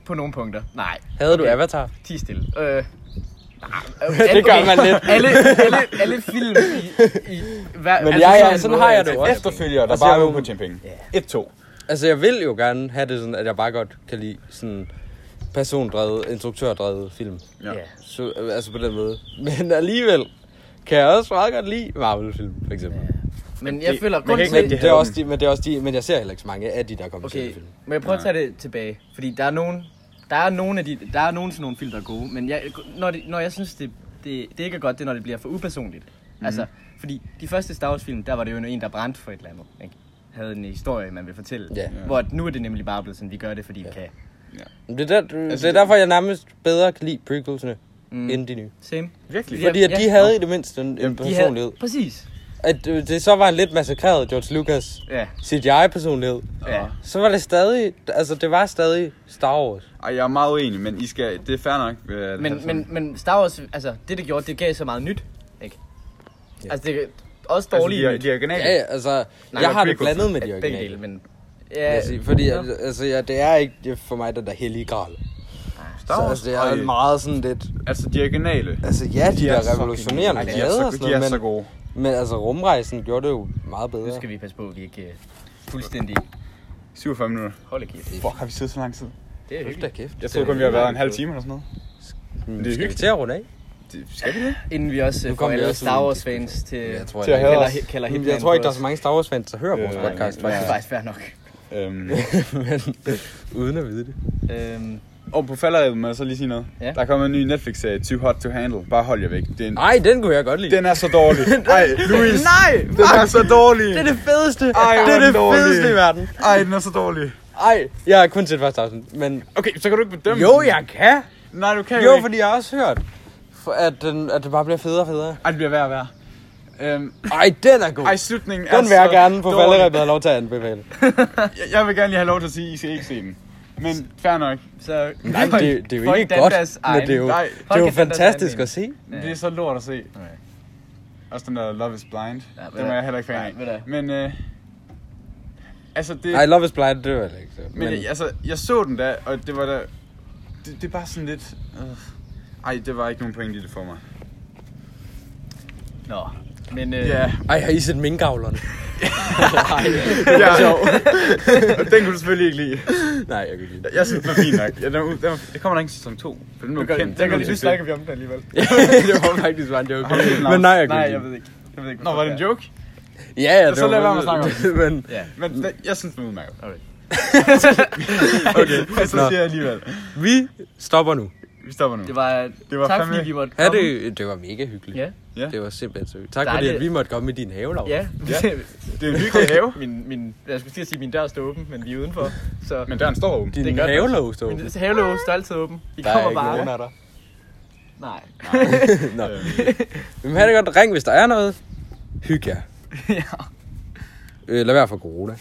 På nogle punkter. Nej.
Hader du Avatar?
Ti stille. Øh,
Det gør man lidt.
alle, alle, alle film i, i hver, altså,
Men jeg er-
en
sådan
måde,
har jeg
tænker,
det jo også.
Efterfølger, der
Altså,
bare
jeg
er
er
ude
jo-
på at tjene penge. Et, to.
Altså, jeg vil jo gerne have det sådan, at jeg bare godt kan lide sådan persondrevet, instruktørdrevet film.
Ja.
Ja.
Så, øh, altså på den måde. Men alligevel kan jeg også meget godt lide Marvel-film, for eksempel.
Men jeg
Det-
føler
man
kun
kan ikke
til...
rigtig
Det er også de, men det er også de, men jeg ser heller ikke så mange af de, der kommer okay.
Okay,
til film.
men jeg prøver at tage det tilbage, fordi der er nogen, der er nogen af de, der er nogen sådan nogle film, der er gode, men jeg, når, det, når jeg synes, det, det, det ikke er godt, det er, når det bliver for upersonligt.
Mhm.
Mm. Altså, fordi de første Star Wars film, der var det jo en, der brændte for et eller andet, ikke? havde en historie, man ville fortælle.
Ja.
Hvor at nu er det nemlig bare blevet sådan, vi gør det, fordi vi kan.
Men Det er, der,
Altså,
det er
det-
derfor, jeg nærmest bedre kan lide prequelsene
Mm.
mm. end de nye.
Same.
Virkelig.
Ja,
Fordi at de
ja.
havde i det mindste en, en
De
personlighed.
præcis.
At øh, det så var en lidt massakreret George Lucas
Ja.
CGI-personlighed.
Ja.
Så var Ah, det stadig, altså det var stadig Star Wars.
Ej, jeg er meget uenig, men I skal, det er fair nok. Øh,
Men, men, men Star Wars, altså det, det gjorde, det gav så meget nyt, ikke?
Ja.
Altså, det også dårligt.
dårlige. Altså, de, de er originale.
Ja, ja, altså
Nej,
jeg
men
har det
prequels-
blandet med de
begge dele,
originale.
men...
vil
Ja,
jeg sige. Fordi
ja.
at, altså, ja, det er ikke det er for mig den der hellige gral.
Star
Så,
Wars,
altså, det er
ej,
meget sådan lidt...
Altså, de originale.
Altså ja, de, de
er
er,
så
revolutionerende. De,
geniale. Ej, de er så-
og sådan
de er
noget, men,
så gode.
Men altså rumrejsen gjorde det jo meget bedre.
Nu skal vi passe på, at vi ikke øh, fuldstændig
47 minutter.
holder kæft.
Fuck, har vi siddet så lang tid?
Det er
Hold da
hyggeligt.
kæft.
Jeg troede kun, vi havde været en halv time eller sådan noget.
Men
det er
det skal vi
hyggeligt.
til at runde af?
Det, skal vi det?
Inden vi også
Nu
øh, får
kommer vi
alle
også
Star
ud i en
Wars fans til...
Jeg tror,
Til at
jeg, jeg,
hate
kalder,
os.
kalder
jeg,
Hitman
tror ikke,
på
der er
os.
så mange Star Wars fans, der hører vores
Øh,
podcast.
Det er
faktisk.
faktisk fair nok.
Øhm,
Men øh, uden at vide det.
Øhm,
og på falderæbet må jeg så lige sige noget.
Ja.
Der er kommet en ny Netflix-serie, Too Hot to Handle. Bare hold jer væk. Det er en,
Nej, den kunne jeg godt lide.
den er så dårlig. Ej, Louis.
Nej,
Den er så dårlig.
det er det fedeste.
Ej,
det er
hvor
det
dårlig.
fedeste i verden.
Ej, den er så dårlig.
Ej, jeg har kun set første afsnit, men...
Okay, så kan du ikke bedømme
Jo,
den.
jeg kan.
Nej, du kan jo,
Jo,
ikke.
fordi jeg har også hørt, for at, den, at det bare bliver federe og federe.
Ej, det bliver værre og værre. Øhm,
Ej, den er god. Altså,
ej, slutningen er
Den vil jeg
så
gerne på
dårlig.
falderæbet have lov til at anbefale.
Jeg- Jeg vil gerne lige have lov til at sige, at I skal ikke se den. Men fair nok.
så...
Nej, det, det er jo ikke godt, men det er jo,
Nej.
det er jo fantastisk at se.
Ja. Det er så lort at se.
Okay.
Også den der Love is Blind.
Ja,
Ja,
ved
den
du-
var jeg heller ikke fan
nej, ved
af.
du-
Men, øh, altså det...
Ej, Love is Blind, det var det ikke. så.
men,
Men,
altså, jeg så den da, og det var da... Det, det er bare sådan lidt... Øh, ej, det var ikke nogen point i det for mig.
Nå, men... Øh,
Ja,
ej, har I set minkavlerne?
ja. og den kunne du selvfølgelig ikke lide.
Nej, jeg kan ikke lide det.
Jeg synes, den var fin nok. Ja, den, var- den, var- det kommer der ikke i sæson 2. For den var
Okay,
kendt.
der kan lige
var en
nu
succes.
snakker vi om den alligevel.
det var faktisk bare en joke.
Har du set den, Lars?
Men nej, jeg kan
Nej,
ikke
jeg
lide
ved ikke. Jeg ved ikke,
Nå, var det en joke?
det. Ja, ja, det
Så lad være med at snakke om
det. Men,
Ja.
Men den, jeg synes, den er udmærket.
Mm. Okay.
okay, så
Nå.
siger jeg alligevel.
vi stopper nu.
Vi stopper nu.
Det var...
Det var
tak
fandme-
fordi vi måtte
Ja,
komme.
det, det var mega hyggeligt.
Ja.
Ja.
Det var simpelthen så hyggeligt. Tak
Dejligt.
fordi, at vi måtte komme i din have, Laura.
Ja.
Ja. Det er en hyggelig have.
min, min, jeg skulle til at sige, at min dør står åben, men vi er udenfor. Så
Men døren står åben.
Din
Det er godt.
havelås, du.
min havelåge står altid åben. I
Der er
kommer bare.
ikke nogen af dig.
Nej.
Nå. Men have det godt. Ring, hvis der er noget. Hyg jer.
ja.
Øh, lad være for corona.